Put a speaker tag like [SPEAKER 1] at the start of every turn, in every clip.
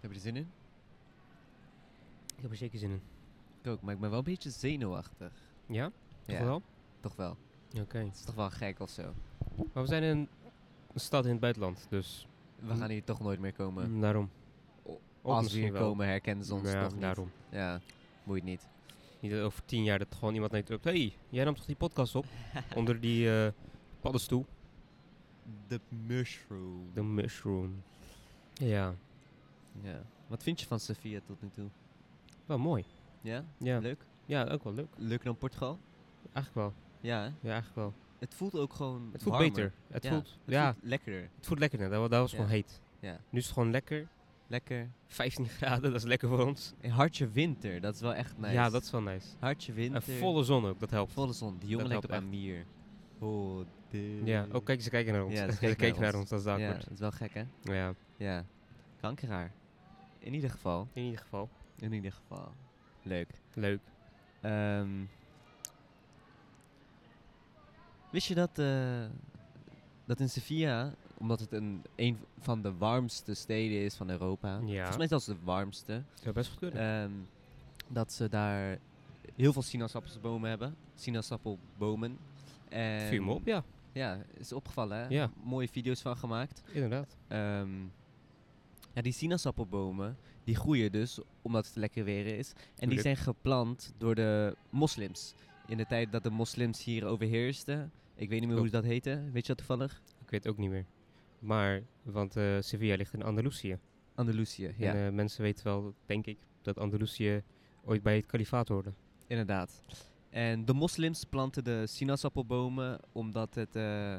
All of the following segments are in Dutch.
[SPEAKER 1] Heb je er zin in?
[SPEAKER 2] Ik heb er zeker zin in.
[SPEAKER 1] Ik ook, maar ik ben wel een beetje zenuwachtig.
[SPEAKER 2] Ja? Toch wel? Oké.
[SPEAKER 1] Toch wel. Het is toch wel gek of zo.
[SPEAKER 2] Maar we zijn in een stad in het buitenland, dus
[SPEAKER 1] We gaan hier toch nooit meer komen.
[SPEAKER 2] mm, daarom.
[SPEAKER 1] O-
[SPEAKER 2] Of
[SPEAKER 1] Als we
[SPEAKER 2] misschien
[SPEAKER 1] hier
[SPEAKER 2] wel. Nou
[SPEAKER 1] komen herkennen ze ons
[SPEAKER 2] ja,
[SPEAKER 1] toch niet.
[SPEAKER 2] daarom.
[SPEAKER 1] Ja, boeit niet.
[SPEAKER 2] Niet dat over tien jaar dat gewoon iemand naar je terug... hey, jij nam toch die podcast op? Onder die eh, paddenstoel.
[SPEAKER 1] The mushroom.
[SPEAKER 2] De mushroom. Ja,
[SPEAKER 1] Ja. Wat vind je van Sofia tot nu toe?
[SPEAKER 2] wel mooi.
[SPEAKER 1] Ja?
[SPEAKER 2] Ja,
[SPEAKER 1] Leuk?
[SPEAKER 2] ja ook wel leuk.
[SPEAKER 1] Leuker dan Portugal?
[SPEAKER 2] Eigenlijk wel.
[SPEAKER 1] Ja, hè?
[SPEAKER 2] Ja, eigenlijk wel.
[SPEAKER 1] Het voelt ook gewoon
[SPEAKER 2] Het voelt
[SPEAKER 1] warmer.
[SPEAKER 2] beter. Het,
[SPEAKER 1] Ja,
[SPEAKER 2] voelt,
[SPEAKER 1] het
[SPEAKER 2] ja,
[SPEAKER 1] voelt lekkerder.
[SPEAKER 2] het voelt lekker. net. Dat, wa- dat was
[SPEAKER 1] Ja.
[SPEAKER 2] gewoon heet.
[SPEAKER 1] Ja.
[SPEAKER 2] Nu is het gewoon lekker.
[SPEAKER 1] Lekker.
[SPEAKER 2] 15 graden, dat is lekker voor ons.
[SPEAKER 1] Hey, Hartje winter, dat is wel echt nice.
[SPEAKER 2] Ja, dat is wel nice.
[SPEAKER 1] Hartje winter.
[SPEAKER 2] En volle zon ook, dat helpt.
[SPEAKER 1] Volle zon. Die jongen
[SPEAKER 2] Dat
[SPEAKER 1] lijkt op
[SPEAKER 2] helpt
[SPEAKER 1] Amir. Oh, dit.
[SPEAKER 2] Ja, ook kijk, ze kijken naar ons.
[SPEAKER 1] Ja, ze
[SPEAKER 2] ze
[SPEAKER 1] kijken
[SPEAKER 2] kijken
[SPEAKER 1] naar
[SPEAKER 2] naar
[SPEAKER 1] ons.
[SPEAKER 2] ons, dat is
[SPEAKER 1] Ja,
[SPEAKER 2] awkward.
[SPEAKER 1] dat is wel gek, hè?
[SPEAKER 2] Ja.
[SPEAKER 1] Ja. Kankeraar. In ieder geval.
[SPEAKER 2] in ieder geval.
[SPEAKER 1] In ieder geval. Leuk.
[SPEAKER 2] Leuk.
[SPEAKER 1] Ehm, wist je dat, eh, dat in Sevilla, omdat het een, een van de warmste steden is van Europa, volgens mij zelfs de warmste,
[SPEAKER 2] Dat zou best goed kunnen.
[SPEAKER 1] ehm, dat ze daar heel veel sinaasappelsbomen hebben. Sinaasappelbomen. En
[SPEAKER 2] Vuur me op, ja.
[SPEAKER 1] Ja, is opgevallen hè?
[SPEAKER 2] Ja.
[SPEAKER 1] Mooie video's van gemaakt.
[SPEAKER 2] Inderdaad.
[SPEAKER 1] Ehm, ja, die sinaasappelbomen, die groeien dus omdat het lekker weer is. En die
[SPEAKER 2] Tuurlijk.
[SPEAKER 1] zijn geplant door de moslims. In de tijd dat de moslims hier overheersten. Ik weet niet meer hoe ze
[SPEAKER 2] Klopt.
[SPEAKER 1] dat heette. Weet je dat toevallig?
[SPEAKER 2] Ik weet ook niet meer. Maar, want eh, Sevilla ligt in Andalusië.
[SPEAKER 1] Andalusië, ja.
[SPEAKER 2] En eh, mensen weten wel, denk ik, dat Andalusië ooit bij het kalifaat hoorde.
[SPEAKER 1] Inderdaad. En de moslims planten de sinaasappelbomen omdat, het, eh,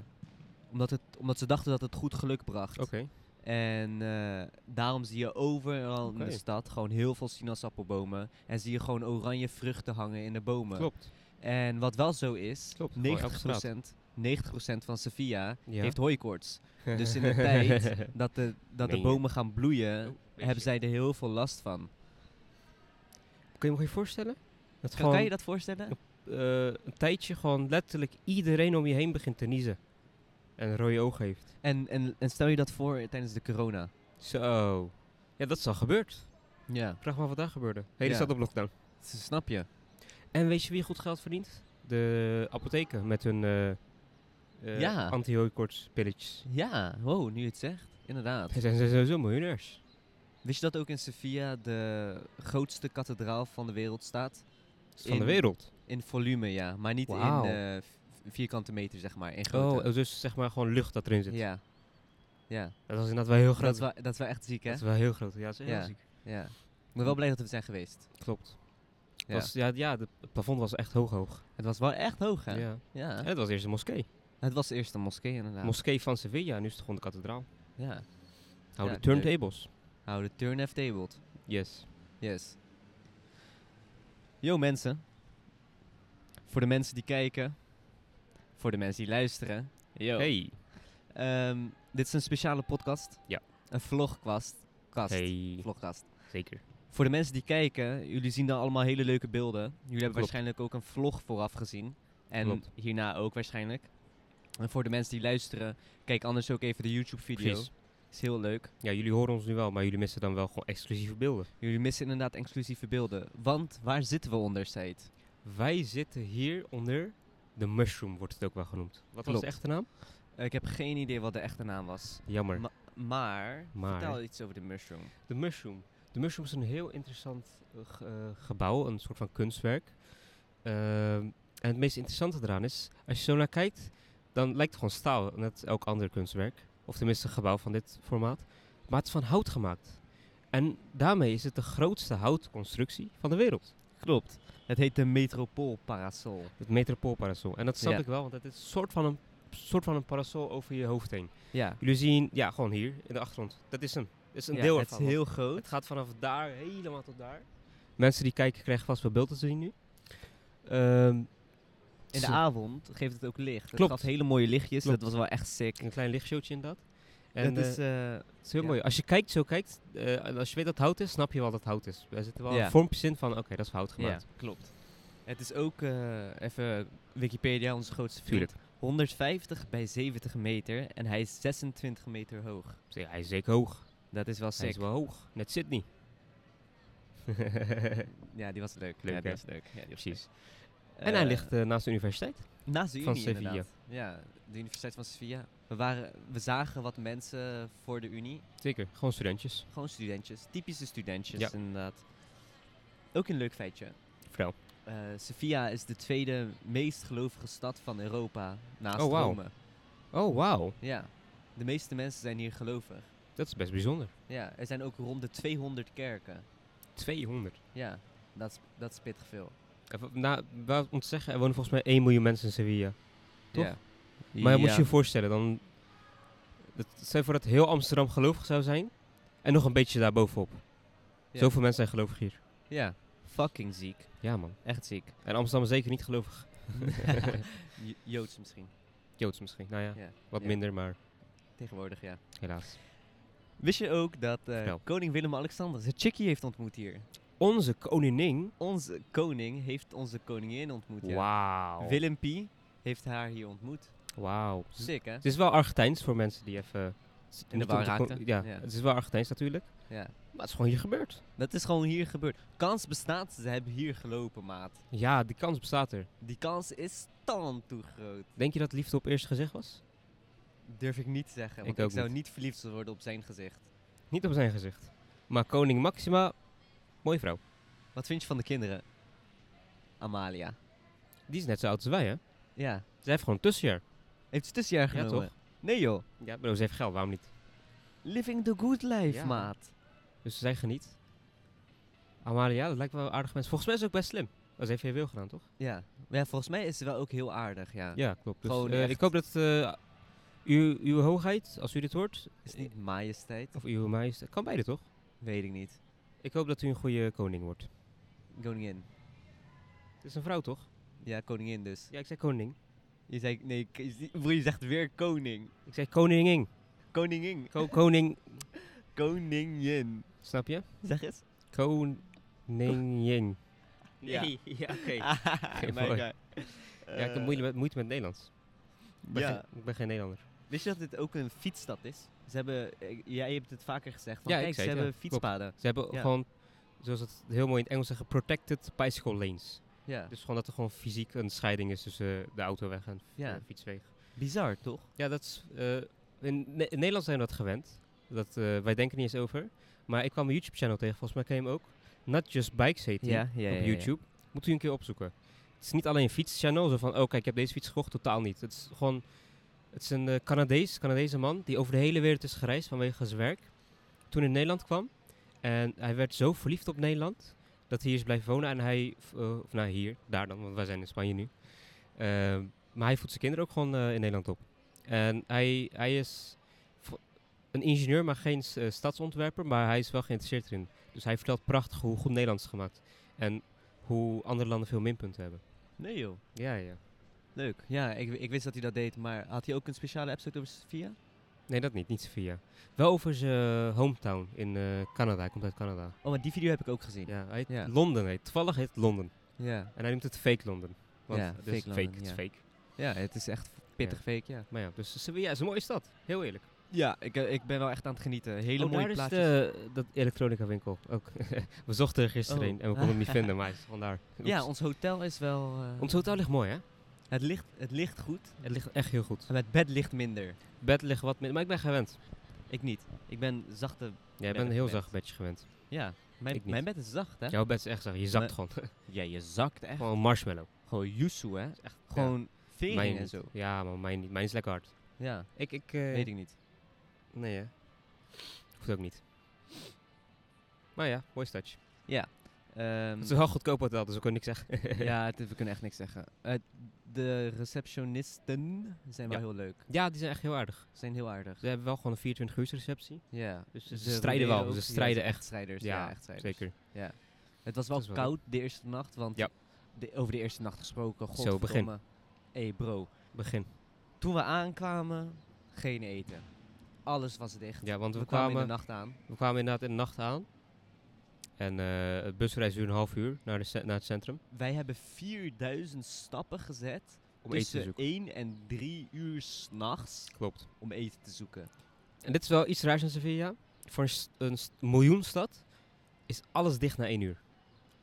[SPEAKER 1] omdat, het, omdat ze dachten dat het goed geluk bracht.
[SPEAKER 2] Oké.
[SPEAKER 1] En eh, daarom zie je overal in de
[SPEAKER 2] Oké.
[SPEAKER 1] stad gewoon heel veel sinaasappelbomen. En zie je gewoon oranje vruchten hangen in de bomen.
[SPEAKER 2] Klopt.
[SPEAKER 1] En wat wel zo is,
[SPEAKER 2] Klopt, gewoon elke
[SPEAKER 1] 90%, 90 van Sevilla
[SPEAKER 2] Ja.
[SPEAKER 1] heeft hooikoorts. Dus in de tijd dat de, dat de
[SPEAKER 2] Meen je?
[SPEAKER 1] bomen gaan bloeien,
[SPEAKER 2] Oh, weet
[SPEAKER 1] eh, hebben
[SPEAKER 2] je.
[SPEAKER 1] zij er heel veel last van.
[SPEAKER 2] Kun je me je voorstellen? Dat
[SPEAKER 1] Kan,
[SPEAKER 2] gewoon
[SPEAKER 1] kan je dat voorstellen?
[SPEAKER 2] eh, een tijdje gewoon letterlijk iedereen om je heen begint te niezen. En rode ogen heeft.
[SPEAKER 1] En, en, en stel je dat voor tijdens de corona.
[SPEAKER 2] Zo. Ja, dat is al gebeurd.
[SPEAKER 1] Ja,
[SPEAKER 2] Vraag me af wat daar gebeurde. Hele
[SPEAKER 1] Ja.
[SPEAKER 2] stad op lockdown.
[SPEAKER 1] s- snap je.
[SPEAKER 2] En weet je wie goed geld verdient? De apotheken met hun eh eh
[SPEAKER 1] Ja.
[SPEAKER 2] anti-hooikoortspilletjes.
[SPEAKER 1] Ja, wow, nu je het zegt. Inderdaad.
[SPEAKER 2] Ze zijn ze sowieso miljonairs.
[SPEAKER 1] Wist je dat ook in Sevilla de grootste kathedraal van de wereld staat?
[SPEAKER 2] Dat is Van de
[SPEAKER 1] In-
[SPEAKER 2] wereld.
[SPEAKER 1] In volume, ja. Maar niet
[SPEAKER 2] Wauw.
[SPEAKER 1] in eh, v- vierkante meter, zeg maar. In
[SPEAKER 2] Oh,
[SPEAKER 1] grootte.
[SPEAKER 2] dus zeg maar gewoon lucht dat erin zit.
[SPEAKER 1] ja. Ja.
[SPEAKER 2] Dat was inderdaad wel heel
[SPEAKER 1] Dat
[SPEAKER 2] groot.
[SPEAKER 1] is, wel, dat is wel echt ziek, hè?
[SPEAKER 2] Dat is wel heel groot. Ja, dat is heel
[SPEAKER 1] Ja.
[SPEAKER 2] ziek.
[SPEAKER 1] Ja. Ik ben wel blij dat we zijn geweest.
[SPEAKER 2] Klopt.
[SPEAKER 1] Ja.
[SPEAKER 2] Was, ja, ja, de, het plafond was echt hoog hoog.
[SPEAKER 1] Het was wel echt hoog, hè?
[SPEAKER 2] Ja.
[SPEAKER 1] Ja.
[SPEAKER 2] En het was eerst een moskee.
[SPEAKER 1] Het was eerst een moskee, inderdaad.
[SPEAKER 2] Moskee van Sevilla, nu is het gewoon de kathedraal.
[SPEAKER 1] ja.
[SPEAKER 2] Hou
[SPEAKER 1] Ja,
[SPEAKER 2] de turntables.
[SPEAKER 1] Hou de turn have tabled.
[SPEAKER 2] Yes.
[SPEAKER 1] Yes. Yo, mensen. Voor de mensen die kijken. Voor de mensen die luisteren. Yo.
[SPEAKER 2] Hey.
[SPEAKER 1] Ehm, dit is een speciale podcast.
[SPEAKER 2] Ja.
[SPEAKER 1] Een vlogkast. Kast.
[SPEAKER 2] Hey.
[SPEAKER 1] Vlogkast.
[SPEAKER 2] Zeker.
[SPEAKER 1] Voor de mensen die kijken, jullie zien dan allemaal hele leuke beelden. Jullie hebben
[SPEAKER 2] Klopt.
[SPEAKER 1] waarschijnlijk ook een vlog vooraf gezien. En
[SPEAKER 2] Klopt.
[SPEAKER 1] hierna ook waarschijnlijk. En voor de mensen die luisteren, kijk anders ook even de YouTube-video.
[SPEAKER 2] Precies.
[SPEAKER 1] Is heel leuk.
[SPEAKER 2] Ja, jullie horen ons nu wel, maar jullie missen dan wel gewoon exclusieve beelden.
[SPEAKER 1] Jullie missen inderdaad exclusieve beelden. Want waar zitten we onder, Said?
[SPEAKER 2] Wij zitten hier onder de mushroom, wordt het ook wel genoemd. Wat was
[SPEAKER 1] Klopt.
[SPEAKER 2] de echte naam?
[SPEAKER 1] Eh, ik heb geen idee wat de echte naam was.
[SPEAKER 2] Jammer.
[SPEAKER 1] Ma- maar,
[SPEAKER 2] Maar.
[SPEAKER 1] vertel iets over de mushroom.
[SPEAKER 2] de mushroom. De mushroom is een heel interessant eh, ge- eh, gebouw, een soort van kunstwerk. Ehm, en het meest interessante eraan is, als je zo naar kijkt, dan lijkt het gewoon staal, net elk ander kunstwerk. Of tenminste een gebouw van dit formaat. Maar het is van hout gemaakt. En daarmee is het de grootste houtconstructie van de wereld.
[SPEAKER 1] Klopt. Het heet de metropool parasol.
[SPEAKER 2] Het metropoolparasol. En dat snap
[SPEAKER 1] Ja.
[SPEAKER 2] ik wel, want het is een soort van een, soort van een parasol over je hoofd heen.
[SPEAKER 1] Ja.
[SPEAKER 2] Jullie zien, ja, gewoon hier in de achtergrond. Dat is hem. Dat is een
[SPEAKER 1] Ja,
[SPEAKER 2] deel
[SPEAKER 1] Het is
[SPEAKER 2] ervan.
[SPEAKER 1] heel groot.
[SPEAKER 2] Het gaat vanaf daar helemaal tot daar. Mensen die kijken krijgen vast wel beeld te zien nu. Ehm,
[SPEAKER 1] In de
[SPEAKER 2] zo.
[SPEAKER 1] avond geeft het ook licht. Het
[SPEAKER 2] Klopt.
[SPEAKER 1] gaf hele mooie lichtjes.
[SPEAKER 2] Klopt.
[SPEAKER 1] Dat was wel echt sick.
[SPEAKER 2] een klein lichtshowtje inderdaad. En
[SPEAKER 1] En
[SPEAKER 2] dat
[SPEAKER 1] het
[SPEAKER 2] is,
[SPEAKER 1] is, eh,
[SPEAKER 2] het is heel
[SPEAKER 1] ja.
[SPEAKER 2] mooi. Als je kijkt, zo kijkt, eh, en als je weet dat het hout is, snap je wel dat het hout is. Er zitten wel
[SPEAKER 1] Ja.
[SPEAKER 2] vormpjes in van, oké, dat is van hout gemaakt.
[SPEAKER 1] klopt. Het is ook, eh, even Wikipedia, onze grootste vriend.
[SPEAKER 2] Tuurlijk.
[SPEAKER 1] 150 bij 70 meter en hij is 26 meter hoog.
[SPEAKER 2] Dus ja, hij is zeker hoog.
[SPEAKER 1] Dat is wel
[SPEAKER 2] Hij is
[SPEAKER 1] sick.
[SPEAKER 2] wel hoog. Net Sydney.
[SPEAKER 1] Ja, die was leuk. ja,
[SPEAKER 2] Leuk, hè?
[SPEAKER 1] die was leuk. Ja, die was
[SPEAKER 2] Precies.
[SPEAKER 1] leuk.
[SPEAKER 2] en hij
[SPEAKER 1] Eh,
[SPEAKER 2] ligt eh, naast de universiteit.
[SPEAKER 1] Naast de
[SPEAKER 2] van
[SPEAKER 1] Unie
[SPEAKER 2] Sevilla.
[SPEAKER 1] inderdaad. Ja, de Universiteit van Sevilla. We, waren, we zagen wat mensen voor de Unie.
[SPEAKER 2] Zeker, gewoon studentjes.
[SPEAKER 1] Gewoon studentjes. Typische studentjes
[SPEAKER 2] Ja.
[SPEAKER 1] inderdaad. Ook een leuk feitje.
[SPEAKER 2] Vertel.
[SPEAKER 1] Eh, Sevilla is de tweede meest gelovige stad van Europa naast
[SPEAKER 2] Oh, wauw.
[SPEAKER 1] Rome.
[SPEAKER 2] Oh, wauw.
[SPEAKER 1] Ja, de meeste mensen zijn hier gelovig.
[SPEAKER 2] Dat is best bijzonder.
[SPEAKER 1] Ja, er zijn ook rond de 200 kerken.
[SPEAKER 2] 200.
[SPEAKER 1] Ja, dat is, dat is pittig veel.
[SPEAKER 2] Eh, wa- Nou, wa- om te zeggen, er wonen volgens mij 1 miljoen mensen in Sevilla. Toch?
[SPEAKER 1] Ja.
[SPEAKER 2] Maar je moet
[SPEAKER 1] Ja.
[SPEAKER 2] je je voorstellen, dan... Dat, stel je voor dat heel Amsterdam gelovig zou zijn. En nog een beetje daarbovenop.
[SPEAKER 1] Ja.
[SPEAKER 2] Zoveel mensen zijn gelovig hier.
[SPEAKER 1] Ja, fucking ziek.
[SPEAKER 2] Ja, man.
[SPEAKER 1] Echt ziek.
[SPEAKER 2] En Amsterdam is zeker niet gelovig.
[SPEAKER 1] J- Joods misschien.
[SPEAKER 2] Joods misschien. Nou ja,
[SPEAKER 1] Ja,
[SPEAKER 2] wat
[SPEAKER 1] ja.
[SPEAKER 2] minder, maar
[SPEAKER 1] Tegenwoordig, ja.
[SPEAKER 2] helaas.
[SPEAKER 1] Wist je ook dat eh,
[SPEAKER 2] Vertel.
[SPEAKER 1] koning Willem-Alexander zijn chickie heeft ontmoet hier?
[SPEAKER 2] Onze koningin.
[SPEAKER 1] Onze koning heeft onze koningin ontmoet, ja.
[SPEAKER 2] Wauw. Hm.
[SPEAKER 1] Willem P. heeft haar hier ontmoet.
[SPEAKER 2] Wauw. Z-
[SPEAKER 1] Sick, hè?
[SPEAKER 2] Het is wel Argentijns voor mensen die even...
[SPEAKER 1] de
[SPEAKER 2] niet
[SPEAKER 1] war
[SPEAKER 2] om te kon-
[SPEAKER 1] raakten.
[SPEAKER 2] Ja,
[SPEAKER 1] Ja.
[SPEAKER 2] het is wel Argentijns natuurlijk.
[SPEAKER 1] Ja.
[SPEAKER 2] Maar het is gewoon hier gebeurd.
[SPEAKER 1] Dat is gewoon hier gebeurd. Kans bestaat, ze hebben hier gelopen, maat.
[SPEAKER 2] Ja, die kans bestaat er.
[SPEAKER 1] Die kans is tan toe groot.
[SPEAKER 2] Denk je dat liefde op eerste gezicht was?
[SPEAKER 1] Durf ik niet te zeggen,
[SPEAKER 2] Ik
[SPEAKER 1] want ik,
[SPEAKER 2] ook
[SPEAKER 1] zou
[SPEAKER 2] niet.
[SPEAKER 1] niet verliefd worden op zijn gezicht.
[SPEAKER 2] Niet op zijn gezicht. Maar koning Maxima, mooie vrouw.
[SPEAKER 1] Wat vind je van de kinderen? Amalia.
[SPEAKER 2] Die is net zo oud als wij, hè?
[SPEAKER 1] Ja.
[SPEAKER 2] Zij heeft gewoon een tussenjaar.
[SPEAKER 1] Heeft ze tussenjaar
[SPEAKER 2] Ja,
[SPEAKER 1] genomen?
[SPEAKER 2] toch?
[SPEAKER 1] Nee joh.
[SPEAKER 2] Ja, maar ze heeft geld, waarom niet?
[SPEAKER 1] Living the good life,
[SPEAKER 2] Ja.
[SPEAKER 1] maat.
[SPEAKER 2] Dus zij geniet. Amalia, dat lijkt wel een aardig mens. Volgens mij is ze ook best slim. Dat heeft heel veel gedaan, toch?
[SPEAKER 1] Ja. Maar ja, volgens mij is ze wel ook heel aardig, ja.
[SPEAKER 2] Ja, klopt. Dus,
[SPEAKER 1] Gewoon
[SPEAKER 2] eh,
[SPEAKER 1] echt.
[SPEAKER 2] ik hoop dat eh, uw, uw hoogheid, als u dit hoort,
[SPEAKER 1] Is het niet majesteit?
[SPEAKER 2] of uw majesteit, kan beide toch?
[SPEAKER 1] Weet ik niet.
[SPEAKER 2] Ik hoop dat u een goede koning wordt.
[SPEAKER 1] Koningin.
[SPEAKER 2] Het is een vrouw, toch?
[SPEAKER 1] Ja, koningin dus.
[SPEAKER 2] Ja, ik zei koning.
[SPEAKER 1] Je zei, nee, k- je zie- broer, je zegt weer koning.
[SPEAKER 2] Ik zei koningin.
[SPEAKER 1] Koningin.
[SPEAKER 2] Ko- koning,
[SPEAKER 1] Koningin.
[SPEAKER 2] snap je?
[SPEAKER 1] Zeg eens.
[SPEAKER 2] Koningin.
[SPEAKER 1] Ja.
[SPEAKER 2] Nee, ja, oké.
[SPEAKER 1] Ah,
[SPEAKER 2] Mooi.
[SPEAKER 1] my God.
[SPEAKER 2] Ja, ik heb
[SPEAKER 1] Eh,
[SPEAKER 2] moeite met, moeite met Nederlands. Ik ben,
[SPEAKER 1] Ja.
[SPEAKER 2] geen, ik ben geen Nederlander.
[SPEAKER 1] Wist je dat dit ook een fietsstad is? Ze hebben, eh, jij hebt het vaker gezegd, van
[SPEAKER 2] Ja, ik
[SPEAKER 1] kijk, ze
[SPEAKER 2] zei het,
[SPEAKER 1] hebben
[SPEAKER 2] ja, klopt.
[SPEAKER 1] fietspaden.
[SPEAKER 2] Ze hebben
[SPEAKER 1] Ja.
[SPEAKER 2] gewoon, zoals het heel mooi in het Engels zeggen, protected bicycle lanes.
[SPEAKER 1] Ja.
[SPEAKER 2] Dus gewoon dat er gewoon fysiek een scheiding is tussen eh, de autoweg en
[SPEAKER 1] Ja.
[SPEAKER 2] de fietsweg.
[SPEAKER 1] Bizar, toch?
[SPEAKER 2] Ja, dat is, eh, in, Ne- in Nederland zijn we dat gewend. Dat, eh, wij denken niet eens over. Maar ik kwam een YouTube-channel tegen, volgens mij ken je hem ook. Not Just Bikes heet die.
[SPEAKER 1] ja,
[SPEAKER 2] op YouTube. Moet u een keer opzoeken. Het is niet alleen een fietschannel, zo van, oh kijk, ik heb deze fiets gekocht, totaal niet. Het is gewoon, het is een eh, Canadees, Canadese man, die over de hele wereld is gereisd vanwege zijn werk. Toen in Nederland kwam. En hij werd zo verliefd op Nederland, dat hij hier is blijven wonen. En hij, v- eh, of nou hier, daar dan, want wij zijn in Spanje nu. Ehm, maar hij voedt zijn kinderen ook gewoon eh, in Nederland op. En hij, hij is vo- een ingenieur, maar geen s- eh, stadsontwerper, maar hij is wel geïnteresseerd erin. Dus hij vertelt prachtig hoe goed Nederlands is gemaakt. En hoe andere landen veel minpunten hebben.
[SPEAKER 1] Nee joh.
[SPEAKER 2] Ja, ja.
[SPEAKER 1] Leuk. Ja, ik, ik wist dat hij dat deed, maar had hij ook een speciale episode over Sofia?
[SPEAKER 2] Nee, dat niet. Niet Sofia. Wel over zijn hometown in eh, Canada. Hij komt uit Canada.
[SPEAKER 1] Oh, maar die video heb ik ook gezien.
[SPEAKER 2] Ja, hij heet
[SPEAKER 1] Ja.
[SPEAKER 2] Londen. Heet. Toevallig heet het Londen.
[SPEAKER 1] Ja,
[SPEAKER 2] En hij noemt het fake Londen. Want
[SPEAKER 1] Ja,
[SPEAKER 2] het
[SPEAKER 1] fake
[SPEAKER 2] is fake,
[SPEAKER 1] Londen,
[SPEAKER 2] het is
[SPEAKER 1] ja.
[SPEAKER 2] fake.
[SPEAKER 1] ja het is echt pittig
[SPEAKER 2] Ja.
[SPEAKER 1] fake, ja.
[SPEAKER 2] Maar ja, dus Sofia is een mooie stad. Heel eerlijk.
[SPEAKER 1] Ja, ik, eh, ik ben wel echt aan het genieten. Hele
[SPEAKER 2] Oh,
[SPEAKER 1] mooie
[SPEAKER 2] daar
[SPEAKER 1] plaatjes.
[SPEAKER 2] is de, dat elektronica winkel ook. we zochten er gisteren
[SPEAKER 1] Oh.
[SPEAKER 2] een en we konden hem niet vinden, maar hij is vandaar.
[SPEAKER 1] ja, ons hotel is wel... eh,
[SPEAKER 2] Ons hotel ligt mooi, hè?
[SPEAKER 1] het, ligt, het ligt goed,
[SPEAKER 2] Mhm. Het ligt echt heel goed.
[SPEAKER 1] en het bed ligt minder.
[SPEAKER 2] Bed ligt wat minder, maar ik ben gewend.
[SPEAKER 1] Ik niet. Ik ben zachte...
[SPEAKER 2] Jij
[SPEAKER 1] ben
[SPEAKER 2] bent een
[SPEAKER 1] ik
[SPEAKER 2] heel
[SPEAKER 1] gewend.
[SPEAKER 2] zacht bedje gewend.
[SPEAKER 1] Ja, mijn,
[SPEAKER 2] Ik niet.
[SPEAKER 1] mijn bed is zacht, hè?
[SPEAKER 2] Jouw bed is echt zacht. Je zakt
[SPEAKER 1] Maar-
[SPEAKER 2] gewoon.
[SPEAKER 1] Ja, je zakt echt.
[SPEAKER 2] gewoon marshmallow.
[SPEAKER 1] Gewoon yuzu, hè?
[SPEAKER 2] Echt, ja.
[SPEAKER 1] Gewoon vering
[SPEAKER 2] Mijn
[SPEAKER 1] en
[SPEAKER 2] niet.
[SPEAKER 1] zo.
[SPEAKER 2] Ja, maar mijn, niet. mijn is lekker hard.
[SPEAKER 1] Ja,
[SPEAKER 2] Ik, ik, eh,
[SPEAKER 1] weet ik niet.
[SPEAKER 2] Nee, hè. Hoeft ook niet. Maar ja, mooi touch.
[SPEAKER 1] Ja. ehm,
[SPEAKER 2] Het is wel goedkoop hotel, dus ik kan niks zeggen.
[SPEAKER 1] ja, het- we kunnen echt niks zeggen. Eh, de receptionisten zijn wel
[SPEAKER 2] Ja.
[SPEAKER 1] heel leuk.
[SPEAKER 2] ja, die zijn echt heel aardig.
[SPEAKER 1] Ze zijn heel aardig.
[SPEAKER 2] Ze hebben wel gewoon een 24 uur receptie.
[SPEAKER 1] Ja.
[SPEAKER 2] Dus ze strijden
[SPEAKER 1] roleren
[SPEAKER 2] wel,
[SPEAKER 1] ook.
[SPEAKER 2] ze
[SPEAKER 1] Ja,
[SPEAKER 2] strijden
[SPEAKER 1] zijn
[SPEAKER 2] echt.
[SPEAKER 1] Strijders, ja,
[SPEAKER 2] Ja,
[SPEAKER 1] echt strijders.
[SPEAKER 2] Zeker.
[SPEAKER 1] Het was wel
[SPEAKER 2] Dat is wel
[SPEAKER 1] koud de eerste nacht, want
[SPEAKER 2] Ja.
[SPEAKER 1] de- over de eerste nacht gesproken,
[SPEAKER 2] Zo, begin.
[SPEAKER 1] godverdomme. Hé hey bro,
[SPEAKER 2] Begin.
[SPEAKER 1] toen we aankwamen, geen eten. Alles was dicht.
[SPEAKER 2] Ja, want
[SPEAKER 1] we,
[SPEAKER 2] we,
[SPEAKER 1] kwamen in
[SPEAKER 2] kwamen,
[SPEAKER 1] de nacht aan.
[SPEAKER 2] we kwamen inderdaad in de nacht aan. En eh het busreis duurde een half uur naar, de ce- naar het centrum.
[SPEAKER 1] Wij hebben 4000 stappen gezet
[SPEAKER 2] Om eten te
[SPEAKER 1] tussen
[SPEAKER 2] zoeken.
[SPEAKER 1] 1 en 3 uur s'nachts
[SPEAKER 2] Klopt.
[SPEAKER 1] om eten te zoeken.
[SPEAKER 2] En dit is wel iets raars aan Sevilla. voor een, st- een st- miljoenstad is alles dicht na één uur.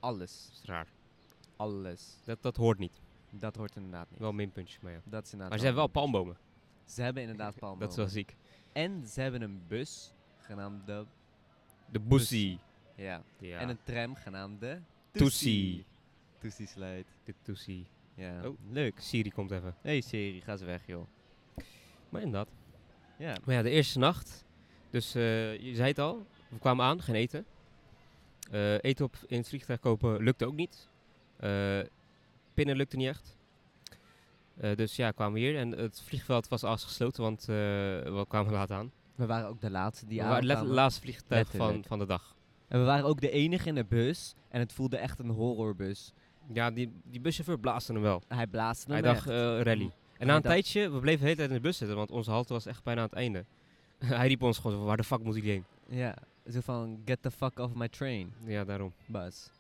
[SPEAKER 1] Alles.
[SPEAKER 2] Dat is raar.
[SPEAKER 1] Alles.
[SPEAKER 2] Dat, dat hoort niet.
[SPEAKER 1] Dat hoort inderdaad niet.
[SPEAKER 2] Wel een minpuntje, maar ja.
[SPEAKER 1] dat is inderdaad
[SPEAKER 2] Maar ze hebben wel
[SPEAKER 1] een puntje.
[SPEAKER 2] palmbomen.
[SPEAKER 1] Ze hebben inderdaad palmbomen.
[SPEAKER 2] Dat is wel ziek.
[SPEAKER 1] En ze hebben een bus genaamd de...
[SPEAKER 2] De Boesie.
[SPEAKER 1] Ja.
[SPEAKER 2] Ja.
[SPEAKER 1] En een tram genaamd de...
[SPEAKER 2] Toesie.
[SPEAKER 1] Toesie Slide.
[SPEAKER 2] De Toesie.
[SPEAKER 1] Ja.
[SPEAKER 2] Oh.
[SPEAKER 1] Leuk.
[SPEAKER 2] Siri komt even.
[SPEAKER 1] Hey Siri, ga ze weg joh.
[SPEAKER 2] Maar inderdaad.
[SPEAKER 1] Ja.
[SPEAKER 2] Maar ja, de eerste nacht. Dus eh, je zei het al. We kwamen aan, geen eten. Eh, eten op, in het vliegtuig kopen lukte ook niet. Eh, pinnen lukte niet echt. Eh, dus ja, kwamen we hier. En het vliegveld was afgesloten, want eh, we kwamen laat aan.
[SPEAKER 1] We waren ook de laatste die
[SPEAKER 2] we waren het
[SPEAKER 1] aankwamen.
[SPEAKER 2] laatste vliegtuig van,
[SPEAKER 1] Letterlijk.
[SPEAKER 2] van de dag.
[SPEAKER 1] En we waren ook de enige in de bus. En het voelde echt een horrorbus.
[SPEAKER 2] Ja, die, die buschauffeur blaasde hem wel.
[SPEAKER 1] Hij blaasde
[SPEAKER 2] Hij
[SPEAKER 1] hem
[SPEAKER 2] dacht,
[SPEAKER 1] echt. Mm.
[SPEAKER 2] eh, rally.
[SPEAKER 1] Hij
[SPEAKER 2] En na een
[SPEAKER 1] dacht-
[SPEAKER 2] tijdje, we bleven de hele tijd in de bus zitten, want onze halte was echt bijna aan het einde. Hij riep ons gewoon, zo van, waar de fuck moet ik heen?
[SPEAKER 1] Ja. Zo van, get the fuck off my train,
[SPEAKER 2] Ja, daarom.
[SPEAKER 1] bus.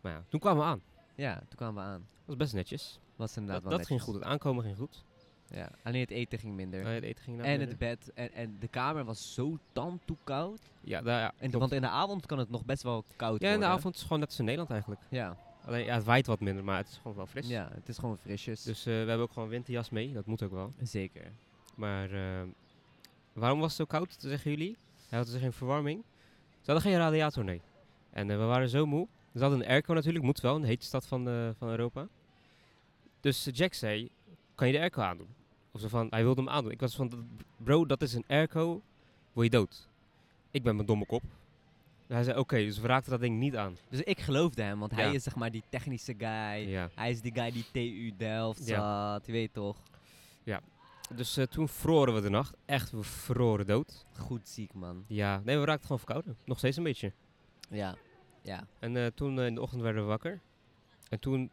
[SPEAKER 2] Maar ja, toen kwamen we aan.
[SPEAKER 1] Ja, toen kwamen we aan.
[SPEAKER 2] Dat was best netjes.
[SPEAKER 1] Was
[SPEAKER 2] Dat,
[SPEAKER 1] inderdaad wel
[SPEAKER 2] dat ging goed.
[SPEAKER 1] netjes.
[SPEAKER 2] Het aankomen ging goed.
[SPEAKER 1] Ja. Alleen het eten ging minder.
[SPEAKER 2] Eh, het eten ging
[SPEAKER 1] en
[SPEAKER 2] inderdaad
[SPEAKER 1] het
[SPEAKER 2] minder.
[SPEAKER 1] bed. En, en de kamer was zo tandtoe koud.
[SPEAKER 2] Ja, daar, ja,
[SPEAKER 1] En,
[SPEAKER 2] klopt.
[SPEAKER 1] want in de avond kan het nog best wel koud
[SPEAKER 2] ja, in de
[SPEAKER 1] worden.
[SPEAKER 2] avond is het gewoon net als in Nederland eigenlijk.
[SPEAKER 1] Ja,
[SPEAKER 2] Alleen, ja, het waait wat minder, maar het is gewoon wel fris.
[SPEAKER 1] ja het is gewoon frisjes.
[SPEAKER 2] Dus eh, we hebben ook gewoon een winterjas mee. Dat moet ook wel.
[SPEAKER 1] Zeker.
[SPEAKER 2] Maar eh, waarom was het zo koud, zeggen jullie? Hij had dus geen verwarming. Ze hadden geen radiator, nee. En eh, we waren zo moe. Ze hadden een airco natuurlijk, moet wel, in de heetste stad van, eh, van Europa. Dus eh, Jack zei, kan je de airco aandoen? Of zo van, hij wilde hem aandoen. Ik was van, "D- bro, dat is een airco, word je dood. Ik ben mijn domme kop. Hij zei, oké, dus we raakten dat ding niet aan.
[SPEAKER 1] Dus ik geloofde hem, want
[SPEAKER 2] Ja.
[SPEAKER 1] hij is zeg maar die technische guy.
[SPEAKER 2] Ja.
[SPEAKER 1] Hij is die guy die TU Delft
[SPEAKER 2] Ja.
[SPEAKER 1] zat, je weet toch.
[SPEAKER 2] Dus eh, toen vroren we de nacht. Echt, we vroren dood.
[SPEAKER 1] Goed ziek, man.
[SPEAKER 2] Ja, nee, we raakten gewoon verkouden. Nog steeds een beetje.
[SPEAKER 1] Ja. Ja.
[SPEAKER 2] En eh, toen eh, in de ochtend werden we wakker. En toen,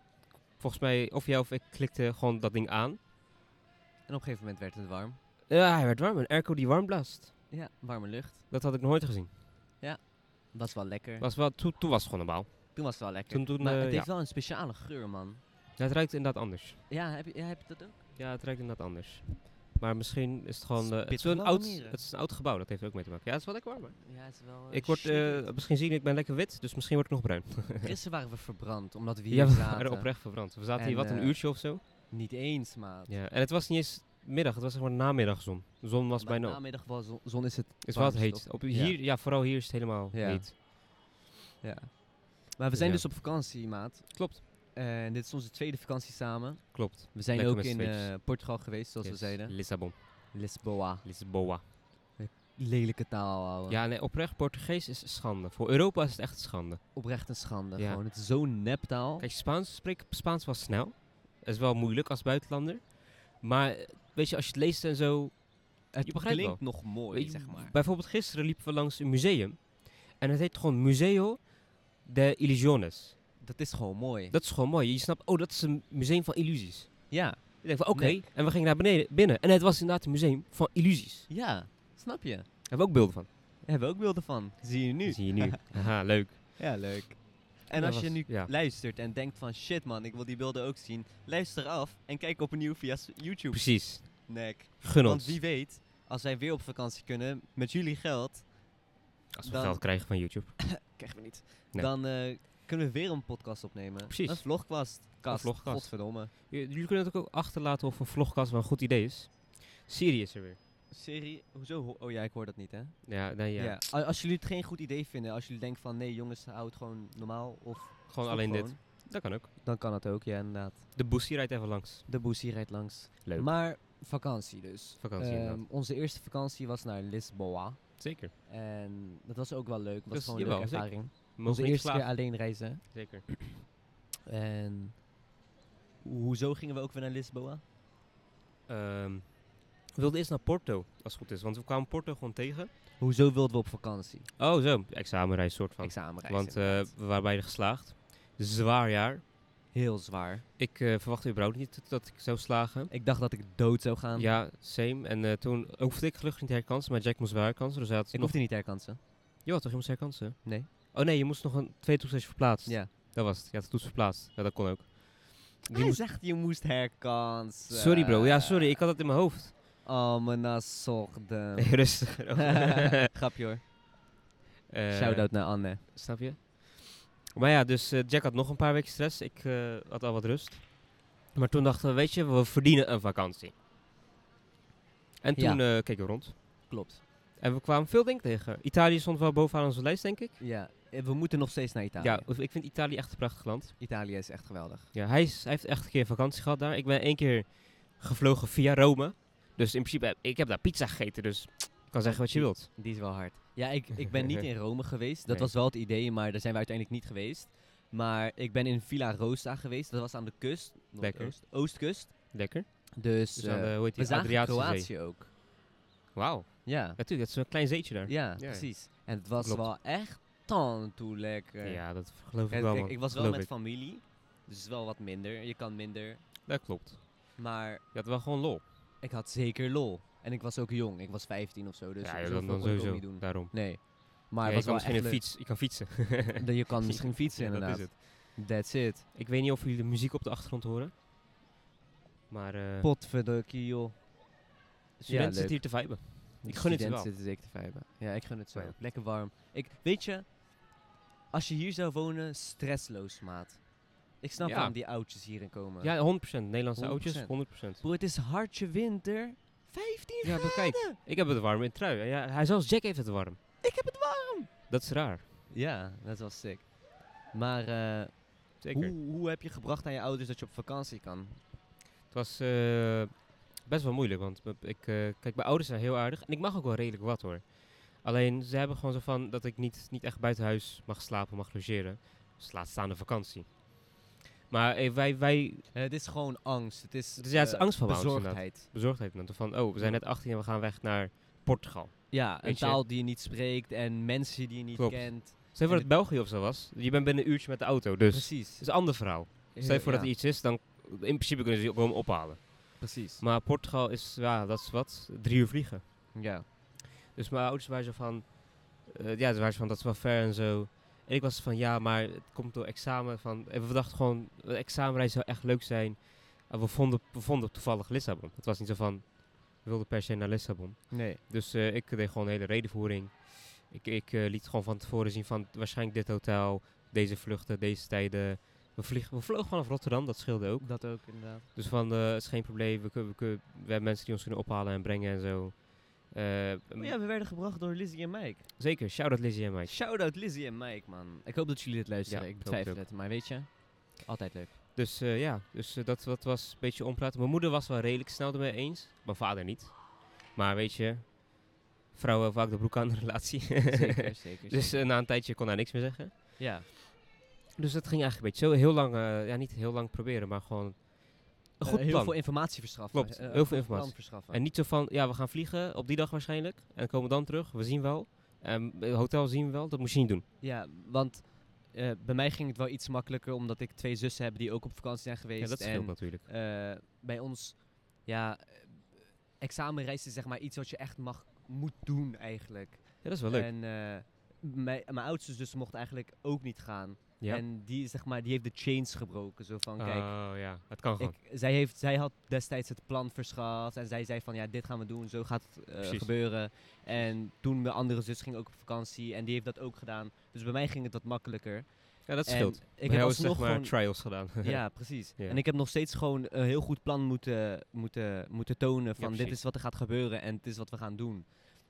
[SPEAKER 2] volgens mij, of jij of ik klikte gewoon dat ding aan.
[SPEAKER 1] En op een gegeven moment werd het warm.
[SPEAKER 2] Ja, hij werd warm. Een airco die warm blaast.
[SPEAKER 1] Ja, warme lucht.
[SPEAKER 2] Dat had ik nog nooit gezien.
[SPEAKER 1] Was wel lekker.
[SPEAKER 2] Was wel, toen, toen was het gewoon normaal.
[SPEAKER 1] toen was het wel lekker.
[SPEAKER 2] Toen, toen,
[SPEAKER 1] maar
[SPEAKER 2] eh,
[SPEAKER 1] het heeft
[SPEAKER 2] ja.
[SPEAKER 1] wel een speciale geur, man.
[SPEAKER 2] Ja, het ruikt inderdaad anders.
[SPEAKER 1] Ja, heb je, ja, heb je dat ook?
[SPEAKER 2] Ja, het ruikt inderdaad anders. Maar misschien is het gewoon... eh, het, is
[SPEAKER 1] Spit
[SPEAKER 2] wel een
[SPEAKER 1] gewoon
[SPEAKER 2] oud,
[SPEAKER 1] mieren.
[SPEAKER 2] het is een oud gebouw, dat heeft er ook mee te maken. Ja, het is wel lekker warm. hè.
[SPEAKER 1] Ja, het is wel... eh,
[SPEAKER 2] Ik word,
[SPEAKER 1] shitty.
[SPEAKER 2] eh, misschien zien, ik ben lekker wit, dus misschien word ik nog bruin.
[SPEAKER 1] Gisteren waren we verbrand, omdat we hier
[SPEAKER 2] Ja, we
[SPEAKER 1] zaten.
[SPEAKER 2] waren oprecht verbrand. We zaten
[SPEAKER 1] En,
[SPEAKER 2] hier wat, een
[SPEAKER 1] eh,
[SPEAKER 2] uurtje of zo.
[SPEAKER 1] Niet eens, maat.
[SPEAKER 2] Ja, en het was niet eens middag, het was zeg maar namiddagzon. De zon was
[SPEAKER 1] Maar
[SPEAKER 2] bijna op.
[SPEAKER 1] namiddag was zon, zon is het
[SPEAKER 2] Het is wel het
[SPEAKER 1] warmst,
[SPEAKER 2] heet.
[SPEAKER 1] toch?
[SPEAKER 2] Op, hier, ja. vooral hier is het helemaal
[SPEAKER 1] Ja.
[SPEAKER 2] heet.
[SPEAKER 1] Ja. Maar we zijn
[SPEAKER 2] ja.
[SPEAKER 1] dus op vakantie, maat.
[SPEAKER 2] Klopt.
[SPEAKER 1] En dit is onze tweede vakantie samen.
[SPEAKER 2] Klopt.
[SPEAKER 1] We zijn
[SPEAKER 2] Lekker
[SPEAKER 1] ook
[SPEAKER 2] met
[SPEAKER 1] in
[SPEAKER 2] z'n tweetjes.
[SPEAKER 1] eh, Portugal geweest, zoals
[SPEAKER 2] Yes.
[SPEAKER 1] we zeiden.
[SPEAKER 2] Lissabon.
[SPEAKER 1] Lisboa.
[SPEAKER 2] Lisboa.
[SPEAKER 1] Lelijke taal, ouwe.
[SPEAKER 2] Ja, nee, oprecht, Portugees is schande. Voor Europa is het echt schande.
[SPEAKER 1] Oprecht een schande.
[SPEAKER 2] Ja.
[SPEAKER 1] Gewoon, het is zo'n neptaal.
[SPEAKER 2] Kijk, Spaans spreken, Spaans was snel. Dat is wel moeilijk als buitenlander. Maar eh, weet je, als je het leest en zo...
[SPEAKER 1] het
[SPEAKER 2] je begrijpt
[SPEAKER 1] klinkt nog mooi,
[SPEAKER 2] weet je,
[SPEAKER 1] zeg maar.
[SPEAKER 2] Bijvoorbeeld gisteren liepen we langs een museum. En het heet gewoon Museo de Illusiones.
[SPEAKER 1] Dat is gewoon mooi.
[SPEAKER 2] Dat is gewoon mooi. Je snapt, oh, dat is een museum van illusies.
[SPEAKER 1] Ja.
[SPEAKER 2] Ik denk van, oké.
[SPEAKER 1] Nee.
[SPEAKER 2] En we gingen naar beneden, binnen. En het was inderdaad een museum van illusies. Daar
[SPEAKER 1] Ja, snap je. Daar
[SPEAKER 2] hebben we ook beelden van.
[SPEAKER 1] hebben we ook beelden van. Zie je nu.
[SPEAKER 2] Zie je nu. Haha, leuk.
[SPEAKER 1] Ja, leuk. En
[SPEAKER 2] Dat
[SPEAKER 1] als je
[SPEAKER 2] was-
[SPEAKER 1] nu
[SPEAKER 2] ja.
[SPEAKER 1] luistert en denkt van shit man, ik wil die beelden ook zien. Luister af en kijk opnieuw via s- YouTube.
[SPEAKER 2] Precies.
[SPEAKER 1] Nek.
[SPEAKER 2] Gun
[SPEAKER 1] Want
[SPEAKER 2] ons.
[SPEAKER 1] wie weet, als wij weer op vakantie kunnen met jullie geld,
[SPEAKER 2] Als we
[SPEAKER 1] dan-
[SPEAKER 2] geld krijgen van YouTube.
[SPEAKER 1] krijgen we niet.
[SPEAKER 2] Nee.
[SPEAKER 1] Dan eh, kunnen we weer een podcast opnemen.
[SPEAKER 2] Precies.
[SPEAKER 1] Een vlogkast. Kast.
[SPEAKER 2] vlogkast.
[SPEAKER 1] Godverdomme.
[SPEAKER 2] J- Jullie kunnen het ook achterlaten of een vlogcast wel een goed idee is. Siri is er weer.
[SPEAKER 1] Serie, hoezo? ho- oh ja, ik hoor dat niet hè.
[SPEAKER 2] Ja, nee, ja.
[SPEAKER 1] A- Als jullie het geen goed idee vinden, als jullie denken van nee jongens, hou het gewoon normaal of stop
[SPEAKER 2] Gewoon alleen
[SPEAKER 1] gewoon,
[SPEAKER 2] dit. Dat kan ook.
[SPEAKER 1] Dan kan het ook, ja inderdaad.
[SPEAKER 2] De boesie rijdt even langs.
[SPEAKER 1] De boesie rijdt langs.
[SPEAKER 2] Leuk.
[SPEAKER 1] Maar vakantie dus.
[SPEAKER 2] Vakantie,
[SPEAKER 1] Ehm,
[SPEAKER 2] inderdaad.
[SPEAKER 1] Onze eerste vakantie was naar Lisboa.
[SPEAKER 2] Zeker.
[SPEAKER 1] En dat was ook wel leuk. was
[SPEAKER 2] Dat is-
[SPEAKER 1] gewoon een leuke
[SPEAKER 2] Dus jawel, zeker.
[SPEAKER 1] ervaring.
[SPEAKER 2] We mogen
[SPEAKER 1] Onze
[SPEAKER 2] niet
[SPEAKER 1] eerste keer
[SPEAKER 2] klagen.
[SPEAKER 1] alleen reizen.
[SPEAKER 2] Zeker.
[SPEAKER 1] En hoezo gingen we ook weer naar Lisboa?
[SPEAKER 2] Ehm, we wilden eerst naar Porto, als het goed is. Want we kwamen Porto gewoon tegen.
[SPEAKER 1] Hoezo wilden we op vakantie?
[SPEAKER 2] Oh, zo. Examenreis soort van.
[SPEAKER 1] Examenreis.
[SPEAKER 2] want eh,
[SPEAKER 1] inderdaad.
[SPEAKER 2] we waren beide geslaagd. Zwaar jaar.
[SPEAKER 1] Heel zwaar.
[SPEAKER 2] Ik eh, verwachtte überhaupt niet dat ik zou slagen.
[SPEAKER 1] Ik dacht dat ik dood zou gaan.
[SPEAKER 2] Ja, same. En eh, toen hoefde ik gelukkig niet te herkansen, maar Jack moest wel herkansen. Dus hij had
[SPEAKER 1] Ik
[SPEAKER 2] nog...
[SPEAKER 1] hoefde niet te herkansen.
[SPEAKER 2] Ja, toch? Je moest herkansen?
[SPEAKER 1] Nee.
[SPEAKER 2] Oh nee, je moest nog een tweede toets als je verplaatst.
[SPEAKER 1] Ja.
[SPEAKER 2] Dat was het. Je had de toets verplaatst. Ja, dat kon ook. Die
[SPEAKER 1] Hij
[SPEAKER 2] moest-
[SPEAKER 1] zegt je moest herkansen.
[SPEAKER 2] Sorry bro. Ja, sorry. Ik had het in mijn hoofd.
[SPEAKER 1] Oh, mijn nasogde.
[SPEAKER 2] Rustig.
[SPEAKER 1] Grapje hoor.
[SPEAKER 2] Eh,
[SPEAKER 1] Shout-out naar Anne.
[SPEAKER 2] Snap je? Maar ja, dus eh, Jack had nog een paar weken stress. Ik eh, had al wat rust. Maar toen dachten we, weet je, we verdienen een vakantie. En
[SPEAKER 1] Ja.
[SPEAKER 2] toen eh, keken we rond.
[SPEAKER 1] Klopt.
[SPEAKER 2] En we kwamen veel dingen tegen. Italië stond wel bovenaan onze lijst, denk ik.
[SPEAKER 1] Ja, eh, we moeten nog steeds naar Italië.
[SPEAKER 2] Ja, of- ik vind Italië echt een prachtig land.
[SPEAKER 1] Italië is echt geweldig.
[SPEAKER 2] Ja, hij, is, hij heeft echt een keer vakantie gehad daar. Ik ben één keer gevlogen via Rome. Dus in principe, heb- ik heb daar pizza gegeten. Dus ik kan zeggen wat je wilt.
[SPEAKER 1] Die is wel hard. Ja, ik, ik ben niet in Rome geweest. Dat
[SPEAKER 2] Nee.
[SPEAKER 1] was wel het idee, maar daar zijn we uiteindelijk niet geweest. Maar ik ben in Villa Rosa geweest. Dat was aan de kust. Noordoost- Oostkust.
[SPEAKER 2] Lekker.
[SPEAKER 1] Dus,
[SPEAKER 2] Dus aan
[SPEAKER 1] eh,
[SPEAKER 2] de, hoe heet
[SPEAKER 1] we
[SPEAKER 2] die,
[SPEAKER 1] zagen
[SPEAKER 2] Adriatische Zee.
[SPEAKER 1] Kroatië ook.
[SPEAKER 2] Wauw.
[SPEAKER 1] Ja,
[SPEAKER 2] Natuurlijk, dat is een klein zeetje daar.
[SPEAKER 1] ja,
[SPEAKER 2] ja.
[SPEAKER 1] precies. En het was
[SPEAKER 2] Klopt.
[SPEAKER 1] wel echt tan toe lekker.
[SPEAKER 2] Ja, dat geloof ik
[SPEAKER 1] Het-
[SPEAKER 2] wel,
[SPEAKER 1] ik,
[SPEAKER 2] man.
[SPEAKER 1] ik was wel
[SPEAKER 2] Geloof
[SPEAKER 1] met
[SPEAKER 2] ik.
[SPEAKER 1] familie. Dus het is wel wat minder. Je kan minder.
[SPEAKER 2] Dat klopt.
[SPEAKER 1] Maar
[SPEAKER 2] Je had wel gewoon lol.
[SPEAKER 1] ik had zeker lol. En ik was ook jong. Ik was 15 of zo. Dus
[SPEAKER 2] ja,
[SPEAKER 1] zoveel
[SPEAKER 2] dan, dan
[SPEAKER 1] kon ik ook
[SPEAKER 2] sowieso.
[SPEAKER 1] niet doen.
[SPEAKER 2] Daarom.
[SPEAKER 1] Nee.
[SPEAKER 2] Ja,
[SPEAKER 1] Maar
[SPEAKER 2] je
[SPEAKER 1] het
[SPEAKER 2] kan
[SPEAKER 1] was wel
[SPEAKER 2] misschien
[SPEAKER 1] echt
[SPEAKER 2] een
[SPEAKER 1] leuk.
[SPEAKER 2] fiets. Je kan fietsen.
[SPEAKER 1] Dat je kan misschien fietsen
[SPEAKER 2] Ja,
[SPEAKER 1] inderdaad.
[SPEAKER 2] Dat is
[SPEAKER 1] That's it.
[SPEAKER 2] het. Ik weet niet of jullie de muziek op de achtergrond horen. Maar eh
[SPEAKER 1] Potverdukkie joh.
[SPEAKER 2] studenten
[SPEAKER 1] leuk.
[SPEAKER 2] zitten hier te viben.
[SPEAKER 1] De
[SPEAKER 2] Ik gun het ze
[SPEAKER 1] studenten
[SPEAKER 2] wel.
[SPEAKER 1] zitten zeker te vijpen. Ja, ik gun het zo.
[SPEAKER 2] Ja.
[SPEAKER 1] Lekker warm. Ik, weet je, als je hier zou wonen, stressloos maat. Ik snap
[SPEAKER 2] Ja.
[SPEAKER 1] waarom die oudjes hierin komen.
[SPEAKER 2] Ja, 100%.
[SPEAKER 1] 100%.
[SPEAKER 2] Nederlandse oudjes, 100%.
[SPEAKER 1] Bro, het is hartje winter. 15
[SPEAKER 2] Ja, maar kijk,
[SPEAKER 1] graden.
[SPEAKER 2] Ik heb het warm in trui. Ja, hij zelfs Jack heeft het warm.
[SPEAKER 1] Ik heb het warm.
[SPEAKER 2] Dat is raar.
[SPEAKER 1] Ja, dat was sick. Maar eh,
[SPEAKER 2] Zeker.
[SPEAKER 1] hoe, hoe heb je gebracht aan je ouders dat je op vakantie kan?
[SPEAKER 2] Het was eh, best wel moeilijk, want b- ik, eh, kijk, mijn ouders zijn heel aardig en ik mag ook wel redelijk wat hoor. Alleen ze hebben gewoon zo van dat ik niet, niet echt buiten huis mag slapen, mag logeren. Dus laat staan de vakantie. Maar eh, wij, wij,
[SPEAKER 1] Eh, het is gewoon angst. Het is,
[SPEAKER 2] Dus ja, het is
[SPEAKER 1] eh,
[SPEAKER 2] angst van angst,
[SPEAKER 1] bezorgdheid.
[SPEAKER 2] bezorgdheid dan, van oh, we zijn net 18 en we gaan weg naar Portugal.
[SPEAKER 1] Ja, een
[SPEAKER 2] Weet je?
[SPEAKER 1] taal die je niet spreekt en mensen die je niet
[SPEAKER 2] Klopt. Dus
[SPEAKER 1] kent.
[SPEAKER 2] Stel
[SPEAKER 1] En
[SPEAKER 2] voor dat België of zo was, je bent binnen een uurtje met de auto, dus het
[SPEAKER 1] Precies.
[SPEAKER 2] is een ander verhaal.
[SPEAKER 1] Eh,
[SPEAKER 2] Stel je voor dat er iets is, dan in principe kunnen ze je gewoon ophalen.
[SPEAKER 1] Precies.
[SPEAKER 2] Maar Portugal is, ja, dat is wat, drie uur vliegen.
[SPEAKER 1] Ja.
[SPEAKER 2] Dus mijn ouders waren zo van, eh, ja, ze waren zo van, dat is wel ver en zo. En ik was van, ja, maar het komt door examen. Van, en we dachten gewoon, een examenreis zou echt leuk zijn. En we vonden, we vonden toevallig Lissabon. Het was niet zo van, we wilden per se naar Lissabon.
[SPEAKER 1] Nee.
[SPEAKER 2] Dus eh, ik deed gewoon een hele redenvoering. Ik, ik eh, liet gewoon van tevoren zien van, waarschijnlijk dit hotel, deze vluchten, deze tijden. We, vliegen, we vlogen vanaf Rotterdam, dat scheelde ook.
[SPEAKER 1] Dat ook inderdaad.
[SPEAKER 2] Dus van, eh, het is geen probleem, we, kun- we, kun- we hebben mensen die ons kunnen ophalen en brengen en zo. Eh,
[SPEAKER 1] Maar Oh ja, we werden gebracht door Lizzie en Mike.
[SPEAKER 2] Zeker, shout-out Lizzie en Mike.
[SPEAKER 1] Shout-out Lizzie en Mike, man. Ik hoop dat jullie dit luisteren.
[SPEAKER 2] Ja,
[SPEAKER 1] ik
[SPEAKER 2] ik hoop het
[SPEAKER 1] betwijfel het, maar weet je, altijd leuk.
[SPEAKER 2] Dus eh, ja, dus, eh, dat, dat was een beetje onpraat. Mijn moeder was wel redelijk snel ermee eens. Mijn vader niet. Maar weet je, vrouwen hebben vaak de broek aan de relatie.
[SPEAKER 1] Zeker, zeker.
[SPEAKER 2] dus eh, na een tijdje kon hij niks meer zeggen.
[SPEAKER 1] ja.
[SPEAKER 2] Dus dat ging eigenlijk een beetje zo. Heel lang, eh, ja niet heel lang proberen, maar gewoon een goed
[SPEAKER 1] Eh, heel
[SPEAKER 2] plan.
[SPEAKER 1] veel informatie verschaffen.
[SPEAKER 2] Klopt,
[SPEAKER 1] Eh,
[SPEAKER 2] heel
[SPEAKER 1] een
[SPEAKER 2] veel
[SPEAKER 1] goed plan
[SPEAKER 2] informatie.
[SPEAKER 1] verschaffen.
[SPEAKER 2] en niet zo van, ja we gaan vliegen op die dag waarschijnlijk. En komen dan terug, we zien wel. En het hotel zien we wel, dat moest je niet doen.
[SPEAKER 1] Ja, want eh, bij mij ging het wel iets makkelijker, omdat ik twee zussen heb die ook op vakantie zijn geweest.
[SPEAKER 2] Ja, dat scheelt
[SPEAKER 1] en
[SPEAKER 2] natuurlijk.
[SPEAKER 1] eh, bij ons, ja, eh, examenreis is zeg maar iets wat je echt mag, moet doen eigenlijk.
[SPEAKER 2] Ja, dat is wel leuk.
[SPEAKER 1] En eh, mijn, mijn oudste zus mocht eigenlijk ook niet gaan.
[SPEAKER 2] ja.
[SPEAKER 1] En die, zeg maar, die heeft de chains gebroken. Zo van, kijk,
[SPEAKER 2] oh ja, het kan gewoon.
[SPEAKER 1] ik, zij, heeft, zij had destijds het plan verschaft. En zij zei van, ja, dit gaan we doen. Zo gaat het eh,
[SPEAKER 2] Precies.
[SPEAKER 1] gebeuren. En toen mijn andere zus ging ook op vakantie. En die heeft dat ook gedaan. Dus bij mij ging het wat makkelijker.
[SPEAKER 2] Ja, dat
[SPEAKER 1] En
[SPEAKER 2] scheelt.
[SPEAKER 1] Ik
[SPEAKER 2] Bij
[SPEAKER 1] heb
[SPEAKER 2] jou is
[SPEAKER 1] alsnog
[SPEAKER 2] zeg maar
[SPEAKER 1] gewoon...
[SPEAKER 2] trials gedaan.
[SPEAKER 1] Ja, precies.
[SPEAKER 2] Ja.
[SPEAKER 1] En ik heb nog steeds gewoon een heel goed plan moeten, moeten, moeten tonen van dit
[SPEAKER 2] precies.
[SPEAKER 1] is wat er gaat gebeuren en dit is wat we gaan doen. En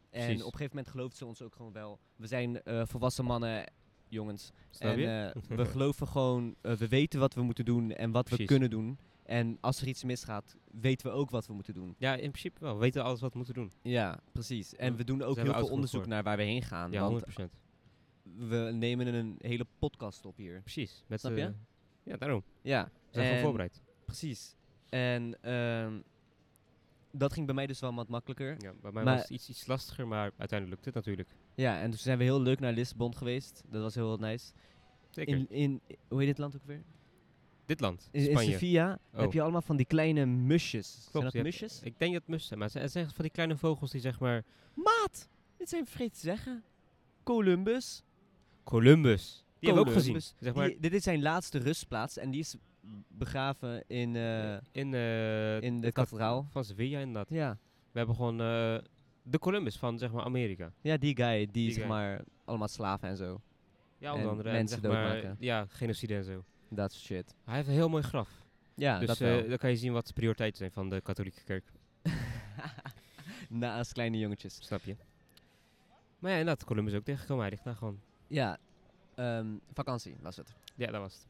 [SPEAKER 2] Precies.
[SPEAKER 1] op een gegeven moment gelooft ze ons ook gewoon wel. We zijn eh, volwassen mannen, jongens.
[SPEAKER 2] Snap
[SPEAKER 1] en
[SPEAKER 2] je?
[SPEAKER 1] eh, we geloven gewoon, eh, we weten wat we moeten doen en wat we
[SPEAKER 2] Precies.
[SPEAKER 1] kunnen doen. En als er iets misgaat, weten we ook wat we moeten doen.
[SPEAKER 2] Ja, in principe wel. We weten alles wat we moeten doen.
[SPEAKER 1] Ja, precies. En
[SPEAKER 2] Ja.
[SPEAKER 1] we doen ook
[SPEAKER 2] Zijn we
[SPEAKER 1] heel
[SPEAKER 2] oud
[SPEAKER 1] veel
[SPEAKER 2] genoeg
[SPEAKER 1] onderzoek
[SPEAKER 2] voor.
[SPEAKER 1] naar waar we heen gaan.
[SPEAKER 2] Ja,
[SPEAKER 1] want
[SPEAKER 2] 100%.
[SPEAKER 1] we nemen een hele podcast op hier.
[SPEAKER 2] Precies. Met
[SPEAKER 1] Snap
[SPEAKER 2] de-
[SPEAKER 1] je?
[SPEAKER 2] ja, daarom.
[SPEAKER 1] Ja.
[SPEAKER 2] We zijn gewoon
[SPEAKER 1] En-
[SPEAKER 2] voorbereid.
[SPEAKER 1] Precies. En ehm, dat ging bij mij dus wel wat makkelijker.
[SPEAKER 2] Ja, bij mij
[SPEAKER 1] maar-
[SPEAKER 2] was het iets, iets lastiger, maar uiteindelijk lukt het natuurlijk.
[SPEAKER 1] Ja, en toen zijn we heel leuk naar Lissabon geweest. Dat was heel nice.
[SPEAKER 2] Zeker.
[SPEAKER 1] In, in, hoe heet dit land ook weer?
[SPEAKER 2] Dit land,
[SPEAKER 1] In, in
[SPEAKER 2] Spanje.
[SPEAKER 1] Sevilla heb
[SPEAKER 2] Oh.
[SPEAKER 1] je allemaal van die kleine musjes. zijn
[SPEAKER 2] Klopt,
[SPEAKER 1] dat
[SPEAKER 2] je hebt-
[SPEAKER 1] musjes?
[SPEAKER 2] Ik denk dat het mussen zijn, maar het zijn- het zijn echt van die kleine vogels die zeg maar...
[SPEAKER 1] Dit zijn vergeten te zeggen. Columbus.
[SPEAKER 2] Columbus. Die hebben we ook gezien.
[SPEAKER 1] Columbus.
[SPEAKER 2] Zeg maar,
[SPEAKER 1] Die- dit is zijn laatste rustplaats en die is begraven in, eh,
[SPEAKER 2] in, eh,
[SPEAKER 1] in de
[SPEAKER 2] kat-
[SPEAKER 1] kathedraal.
[SPEAKER 2] Van Sevilla inderdaad.
[SPEAKER 1] Ja.
[SPEAKER 2] We hebben gewoon eh, de Columbus van zeg maar Amerika.
[SPEAKER 1] ja, die guy die,
[SPEAKER 2] Die
[SPEAKER 1] zeg
[SPEAKER 2] guy.
[SPEAKER 1] maar allemaal slaven en zo.
[SPEAKER 2] Ja, onder
[SPEAKER 1] En
[SPEAKER 2] andere. en
[SPEAKER 1] mensen
[SPEAKER 2] zeg maar,
[SPEAKER 1] doodmaken.
[SPEAKER 2] Ja, genocide en zo.
[SPEAKER 1] Dat soort shit.
[SPEAKER 2] Hij heeft een heel mooi graf.
[SPEAKER 1] Ja, dat
[SPEAKER 2] dus eh,
[SPEAKER 1] wel.
[SPEAKER 2] dan kan je zien wat de prioriteiten zijn van de katholieke kerk.
[SPEAKER 1] Naast kleine jongetjes.
[SPEAKER 2] Snap je? Maar ja, inderdaad, Columbus ook tegengekomen. Hij ligt daar gewoon.
[SPEAKER 1] Ja, ehm, vakantie was het.
[SPEAKER 2] Ja, dat was het.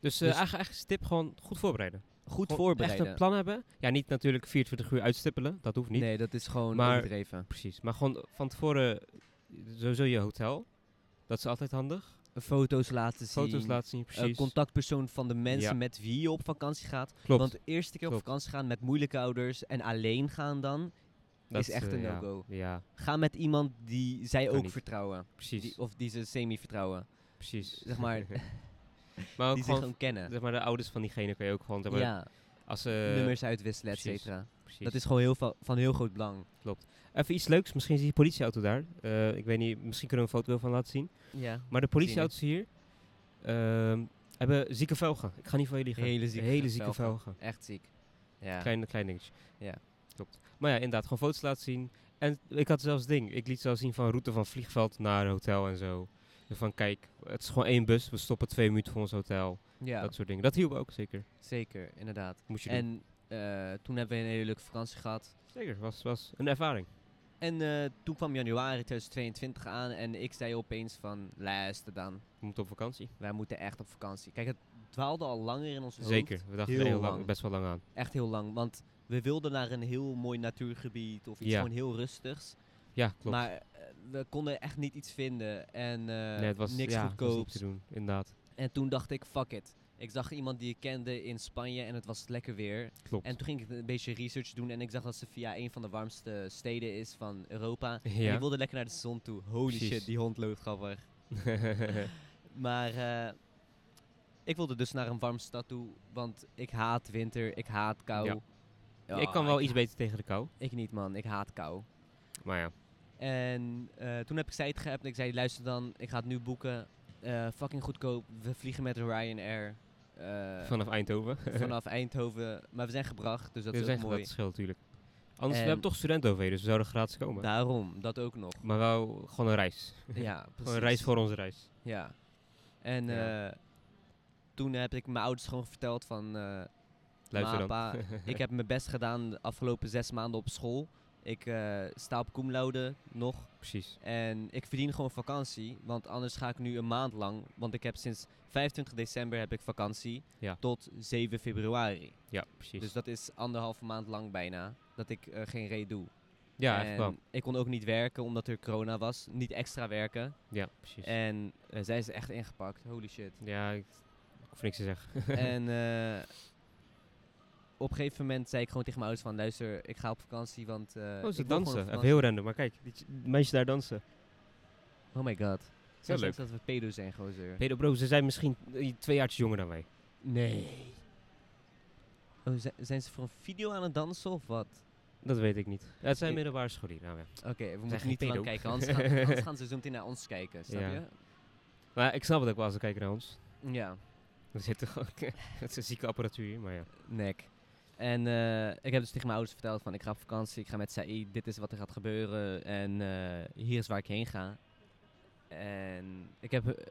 [SPEAKER 2] Dus, eh
[SPEAKER 1] Dus-
[SPEAKER 2] eigen, eigen tip gewoon goed voorbereiden.
[SPEAKER 1] Goed
[SPEAKER 2] Gewoon
[SPEAKER 1] voorbereiden.
[SPEAKER 2] Echt een plan hebben. Ja, niet natuurlijk 24 uur uitstippelen. Dat hoeft niet.
[SPEAKER 1] Nee, dat is gewoon
[SPEAKER 2] Maar-
[SPEAKER 1] overdreven.
[SPEAKER 2] Precies. Maar gewoon van tevoren eh, sowieso je hotel. Dat is altijd handig.
[SPEAKER 1] Foto's laten zien.
[SPEAKER 2] Foto's laten zien,
[SPEAKER 1] eh,
[SPEAKER 2] precies.
[SPEAKER 1] contactpersoon van de mensen
[SPEAKER 2] Ja.
[SPEAKER 1] met wie je op vakantie gaat.
[SPEAKER 2] Klopt.
[SPEAKER 1] Want de eerste keer op
[SPEAKER 2] Klopt.
[SPEAKER 1] vakantie gaan met moeilijke ouders en alleen gaan dan,
[SPEAKER 2] Dat,
[SPEAKER 1] is echt
[SPEAKER 2] eh,
[SPEAKER 1] een
[SPEAKER 2] ja.
[SPEAKER 1] no-go.
[SPEAKER 2] Ja,
[SPEAKER 1] Ga met iemand die zij
[SPEAKER 2] Kan
[SPEAKER 1] ook
[SPEAKER 2] niet.
[SPEAKER 1] vertrouwen.
[SPEAKER 2] precies.
[SPEAKER 1] Die, of die ze semi-vertrouwen.
[SPEAKER 2] precies.
[SPEAKER 1] zeg maar-
[SPEAKER 2] maar
[SPEAKER 1] Die
[SPEAKER 2] ook
[SPEAKER 1] zich
[SPEAKER 2] gewoon,
[SPEAKER 1] gewoon kennen.
[SPEAKER 2] zeg maar, de ouders van diegene kan je ook gewoon... Zeg maar,
[SPEAKER 1] Ja,
[SPEAKER 2] Als ze...
[SPEAKER 1] nummers uitwisselen, et
[SPEAKER 2] eh, precies.
[SPEAKER 1] cetera.
[SPEAKER 2] Precies.
[SPEAKER 1] Dat is gewoon heel va- van heel groot belang.
[SPEAKER 2] Even iets leuks. Misschien zie je politieauto daar. Eh, ik weet niet, misschien kunnen we een foto van laten zien.
[SPEAKER 1] Ja.
[SPEAKER 2] Maar de politieauto's hier ehm, hebben zieke velgen. Ik ga niet van jullie gaan.
[SPEAKER 1] Hele zieke
[SPEAKER 2] Hele zieke
[SPEAKER 1] velgen.
[SPEAKER 2] velgen.
[SPEAKER 1] Echt ziek. Ja.
[SPEAKER 2] Klein, klein dingetje.
[SPEAKER 1] Ja.
[SPEAKER 2] Klopt. Maar ja, inderdaad, gewoon foto's laten zien. En ik had zelfs ding. Ik liet zelfs zien van route van vliegveld naar hotel en zo. En Van kijk, het is gewoon één bus. We stoppen twee minuten voor ons hotel.
[SPEAKER 1] ja,
[SPEAKER 2] Dat soort dingen. Dat hielp ook zeker.
[SPEAKER 1] zeker, inderdaad.
[SPEAKER 2] Moest je doen.
[SPEAKER 1] En eh, toen hebben we een hele leuke vakantie gehad.
[SPEAKER 2] Zeker, was, was een ervaring.
[SPEAKER 1] En eh, toen kwam januari 2022 aan en ik zei opeens van, luister dan,
[SPEAKER 2] We moeten op vakantie.
[SPEAKER 1] wij moeten echt op vakantie. Kijk, het dwaalde al langer in ons hoofd.
[SPEAKER 2] Zeker. We dachten
[SPEAKER 1] Heel
[SPEAKER 2] er heel lang,
[SPEAKER 1] lang.
[SPEAKER 2] best wel lang aan.
[SPEAKER 1] Echt heel lang, want we wilden naar een heel mooi natuurgebied of iets
[SPEAKER 2] Ja.
[SPEAKER 1] gewoon heel rustigs.
[SPEAKER 2] Ja, klopt.
[SPEAKER 1] Maar eh, we konden echt niet iets vinden en eh,
[SPEAKER 2] nee, het was
[SPEAKER 1] niks
[SPEAKER 2] ja, het was
[SPEAKER 1] goedkoop.
[SPEAKER 2] niet te doen. Inderdaad.
[SPEAKER 1] En toen dacht ik, fuck it. Ik zag iemand die ik kende in Spanje en het was lekker weer.
[SPEAKER 2] Klopt.
[SPEAKER 1] En toen ging ik een beetje research doen en ik zag dat Sofia een van de warmste steden is van Europa. En
[SPEAKER 2] Ja.
[SPEAKER 1] je wilde lekker naar de zon toe. Holy
[SPEAKER 2] Precies.
[SPEAKER 1] shit, die hond loopt grappig. Maar eh, ik wilde dus naar een warme stad toe, want ik haat winter, ik haat kou.
[SPEAKER 2] Ja.
[SPEAKER 1] Ja,
[SPEAKER 2] ik kan wel
[SPEAKER 1] ik-
[SPEAKER 2] iets beter tegen de kou.
[SPEAKER 1] Ik niet man, ik haat kou.
[SPEAKER 2] Maar ja.
[SPEAKER 1] En eh, toen heb ik zij het geappt en ik zei, luister dan, ik ga het nu boeken. Eh, fucking goedkoop, we vliegen met Ryanair. eh,
[SPEAKER 2] Vanaf Eindhoven.
[SPEAKER 1] vanaf Eindhoven. Maar we zijn gebracht, dus dat
[SPEAKER 2] Dus
[SPEAKER 1] is ook
[SPEAKER 2] echt
[SPEAKER 1] mooi.
[SPEAKER 2] dat scheelt natuurlijk. Anders, we
[SPEAKER 1] En-
[SPEAKER 2] hebben toch studenten over dus we zouden gratis komen.
[SPEAKER 1] Daarom, dat ook nog.
[SPEAKER 2] maar wel gewoon een reis.
[SPEAKER 1] ja, precies.
[SPEAKER 2] Gewoon een reis voor onze reis.
[SPEAKER 1] Ja. En
[SPEAKER 2] Ja.
[SPEAKER 1] eh, toen heb ik mijn ouders gewoon verteld van... eh,
[SPEAKER 2] Luister dan.
[SPEAKER 1] Mapa, ik heb mijn best gedaan de afgelopen zes maanden op school. Ik eh, sta op cum laude nog.
[SPEAKER 2] Precies.
[SPEAKER 1] En ik verdien gewoon vakantie. Want anders ga ik nu een maand lang. Want ik heb sinds 25 december heb ik vakantie.
[SPEAKER 2] Ja.
[SPEAKER 1] Tot 7 februari.
[SPEAKER 2] Ja, precies.
[SPEAKER 1] Dus dat is anderhalve maand lang bijna. Dat ik eh, geen reet doe.
[SPEAKER 2] ja,
[SPEAKER 1] en
[SPEAKER 2] echt wel.
[SPEAKER 1] ik kon ook niet werken omdat er corona was. Niet extra werken.
[SPEAKER 2] Ja, precies.
[SPEAKER 1] En eh, zij is echt ingepakt. Holy shit.
[SPEAKER 2] ja, ik, ik hoef niks te zeggen.
[SPEAKER 1] en eh, op een gegeven moment zei ik gewoon tegen mijn ouders van... Luister, ik ga op vakantie, want... eh, ik
[SPEAKER 2] oh,
[SPEAKER 1] wil
[SPEAKER 2] ze
[SPEAKER 1] gewoon
[SPEAKER 2] dansen.
[SPEAKER 1] op
[SPEAKER 2] Even
[SPEAKER 1] vakantie."
[SPEAKER 2] heel random. Maar kijk, die meisjes daar dansen.
[SPEAKER 1] Oh my god.
[SPEAKER 2] Heel
[SPEAKER 1] Zelfs
[SPEAKER 2] leuk.
[SPEAKER 1] dat we pedo zijn, gozer.
[SPEAKER 2] Pedo bro, ze zijn misschien eh, twee jaar jonger dan wij.
[SPEAKER 1] nee. Oh, zi- zijn ze voor een video aan het dansen of wat?
[SPEAKER 2] Dat weet ik niet. Ja, het zijn
[SPEAKER 1] Ik-
[SPEAKER 2] middelbare scholieren. Nou, ja.
[SPEAKER 1] Oké, we moeten
[SPEAKER 2] geen
[SPEAKER 1] niet te lang
[SPEAKER 2] pedo.
[SPEAKER 1] kijken, anders gaan, anders gaan ze zo meteen naar ons kijken, snap
[SPEAKER 2] Ja.
[SPEAKER 1] je?
[SPEAKER 2] Maar ik snap het ook wel als ze kijken naar ons.
[SPEAKER 1] Ja,
[SPEAKER 2] We zitten gewoon... Het is een zieke apparatuur hier, maar ja.
[SPEAKER 1] nek. En eh, ik heb dus tegen mijn ouders verteld van ik ga op vakantie, ik ga met Saïd, dit is wat er gaat gebeuren en eh, hier is waar ik heen ga. En ik heb eh,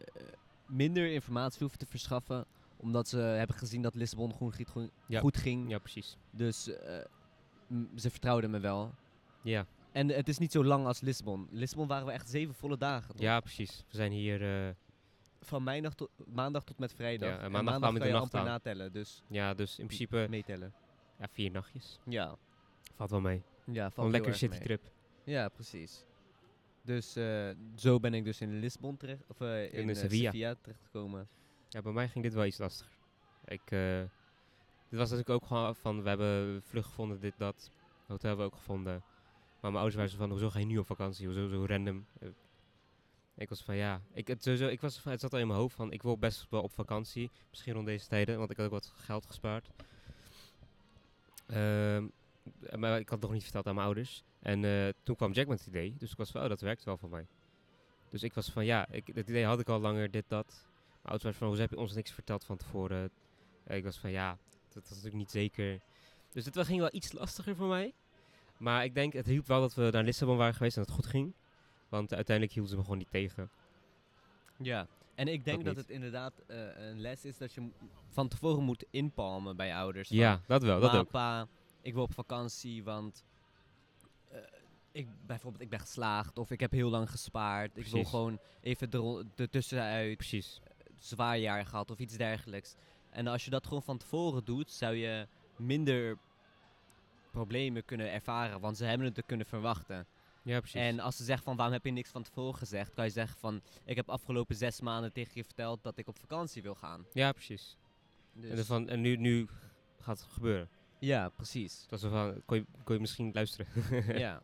[SPEAKER 1] minder informatie hoeven te verschaffen, omdat ze hebben gezien dat Lissabon gewoon goed, goed-
[SPEAKER 2] Ja.
[SPEAKER 1] goed ging.
[SPEAKER 2] Ja, precies.
[SPEAKER 1] Dus eh, m- ze vertrouwden me wel.
[SPEAKER 2] Ja.
[SPEAKER 1] En het is niet zo lang als Lissabon. Lissabon waren we echt zeven volle dagen. toch?
[SPEAKER 2] Ja, precies. We zijn hier. eh,
[SPEAKER 1] Van maandag tot, maandag tot met vrijdag.
[SPEAKER 2] Ja, en maandag kwamen
[SPEAKER 1] kan
[SPEAKER 2] de
[SPEAKER 1] je
[SPEAKER 2] nacht
[SPEAKER 1] amper
[SPEAKER 2] aan.
[SPEAKER 1] natellen, dus
[SPEAKER 2] ja, dus in principe
[SPEAKER 1] meetellen.
[SPEAKER 2] ja, vier nachtjes.
[SPEAKER 1] Ja,
[SPEAKER 2] Valt wel mee.
[SPEAKER 1] ja
[SPEAKER 2] Gewoon lekker
[SPEAKER 1] zitten
[SPEAKER 2] citytrip.
[SPEAKER 1] Ja, precies. Dus eh, zo ben ik dus in Lisbon terecht, of eh, in,
[SPEAKER 2] de
[SPEAKER 1] eh,
[SPEAKER 2] Sevilla.
[SPEAKER 1] terechtgekomen.
[SPEAKER 2] Ja, bij mij ging dit wel iets lastiger. Ik, eh, dit was natuurlijk ook gewoon van, we hebben vlucht gevonden, dit, dat. Hotel hebben we ook gevonden. Maar mijn ouders waren zo van, hoezo ga je nu op vakantie? Hoezo zo random? Eh, Ik was van, ja, ik, het, sowieso, ik was van, het zat al in mijn hoofd van, ik wil best wel op vakantie. Misschien rond deze tijden, want ik had ook wat geld gespaard. Ehm, maar ik had het nog niet verteld aan mijn ouders. En eh, toen kwam Jack met het idee, dus ik was van, oh, dat werkt wel voor mij. Dus ik was van, ja, ik, dat idee had ik al langer, dit, dat. Mijn ouders waren van, hoezo heb je ons niks verteld van tevoren? Eh, Ik was van, ja, dat was natuurlijk niet zeker. Dus het wel- ging wel iets lastiger voor mij. Maar ik denk, het hielp wel dat we naar Lissabon waren geweest en dat het goed ging. Want uiteindelijk hielden ze me gewoon niet tegen.
[SPEAKER 1] Ja, en ik denk
[SPEAKER 2] Dat
[SPEAKER 1] dat,
[SPEAKER 2] niet.
[SPEAKER 1] het inderdaad eh, een les is dat je m- van tevoren moet inpalmen bij je ouders. van,
[SPEAKER 2] Ja, dat wel, dat
[SPEAKER 1] "Ma,
[SPEAKER 2] ook.
[SPEAKER 1] pa, ik wil op vakantie, want eh, ik, bijvoorbeeld ik ben geslaagd of ik heb heel lang gespaard. Ik wil
[SPEAKER 2] Precies.
[SPEAKER 1] gewoon even er, ertussenuit,
[SPEAKER 2] Precies.
[SPEAKER 1] zwaar jaar gehad of iets dergelijks. En als je dat gewoon van tevoren doet, zou je minder problemen kunnen ervaren, want ze hebben het er kunnen verwachten.
[SPEAKER 2] Ja, precies.
[SPEAKER 1] En als ze zegt van waarom heb je niks van tevoren gezegd, kan je zeggen van ik heb afgelopen zes maanden tegen je verteld dat ik op vakantie wil gaan.
[SPEAKER 2] ja, precies.
[SPEAKER 1] Dus
[SPEAKER 2] En, dan van, en nu, nu gaat het gebeuren. Dus
[SPEAKER 1] ja, precies.
[SPEAKER 2] Dat is van, kon je, kon je misschien luisteren.
[SPEAKER 1] ja.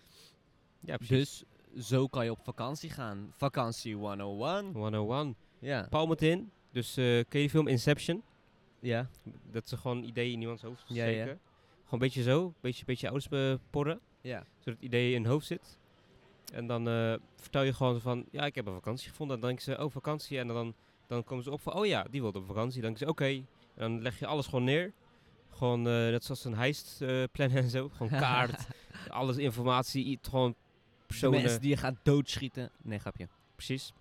[SPEAKER 2] ja, precies.
[SPEAKER 1] Dus zo kan je op vakantie gaan. Vakantie 101.
[SPEAKER 2] 101.
[SPEAKER 1] Ja.
[SPEAKER 2] Palm het in. Dus eh, ken je die film Inception?
[SPEAKER 1] Ja.
[SPEAKER 2] Dat ze gewoon ideeën in iemands hoofd
[SPEAKER 1] Ja,
[SPEAKER 2] steken.
[SPEAKER 1] ja.
[SPEAKER 2] Gewoon een beetje zo. Een beetje, beetje ouders eh, porren.
[SPEAKER 1] Ja.
[SPEAKER 2] Zodat het idee in hun hoofd zit. En dan eh, vertel je gewoon van, ja, ik heb een vakantie gevonden. En dan denken ze, oh, vakantie. En dan, dan komen ze op van, oh ja, die wilde op vakantie. Dan denken ze, oké. En dan leg je alles gewoon neer. Gewoon, eh, net zoals een heist eh, plannen en zo. Gewoon kaart, alles informatie, i- gewoon personen.
[SPEAKER 1] Mensen die je gaat doodschieten. Nee, grapje.
[SPEAKER 2] Precies.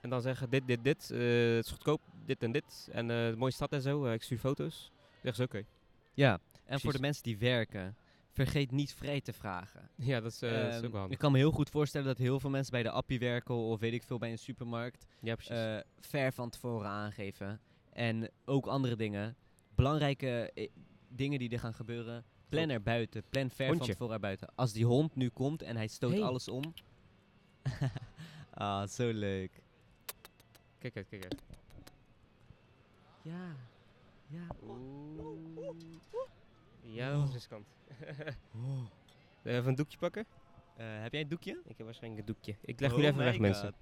[SPEAKER 2] En dan zeggen dit, dit, dit. eh, het is goedkoop, dit en dit. En eh, de mooie stad en zo. eh, ik stuur foto's. Dan zeggen ze oké.
[SPEAKER 1] Ja. En
[SPEAKER 2] Precies.
[SPEAKER 1] voor de mensen die werken, vergeet niet vrij te vragen.
[SPEAKER 2] Ja, dat is, eh, dat is
[SPEAKER 1] Ehm,
[SPEAKER 2] ook wel handig.
[SPEAKER 1] ik kan me heel goed voorstellen dat heel veel mensen bij de appie werken of weet ik veel bij een supermarkt.
[SPEAKER 2] Ja, precies.
[SPEAKER 1] eh, ver van tevoren aangeven. En ook andere dingen. Belangrijke eh, dingen die er gaan gebeuren. Plan
[SPEAKER 2] Klopt.
[SPEAKER 1] er buiten. Plan ver van
[SPEAKER 2] Hondje.
[SPEAKER 1] tevoren buiten. Als die hond nu komt en hij stoot
[SPEAKER 2] Hey.
[SPEAKER 1] alles om. ah, zo leuk.
[SPEAKER 2] kijk uit, kijk uit.
[SPEAKER 1] Ja. Ja.
[SPEAKER 2] Ja, dat is riskant. Eh, Even een doekje pakken? Oh
[SPEAKER 1] Eh, heb jij een doekje?
[SPEAKER 2] Ik heb waarschijnlijk een doekje. Ik leg jullie even weg, mensen.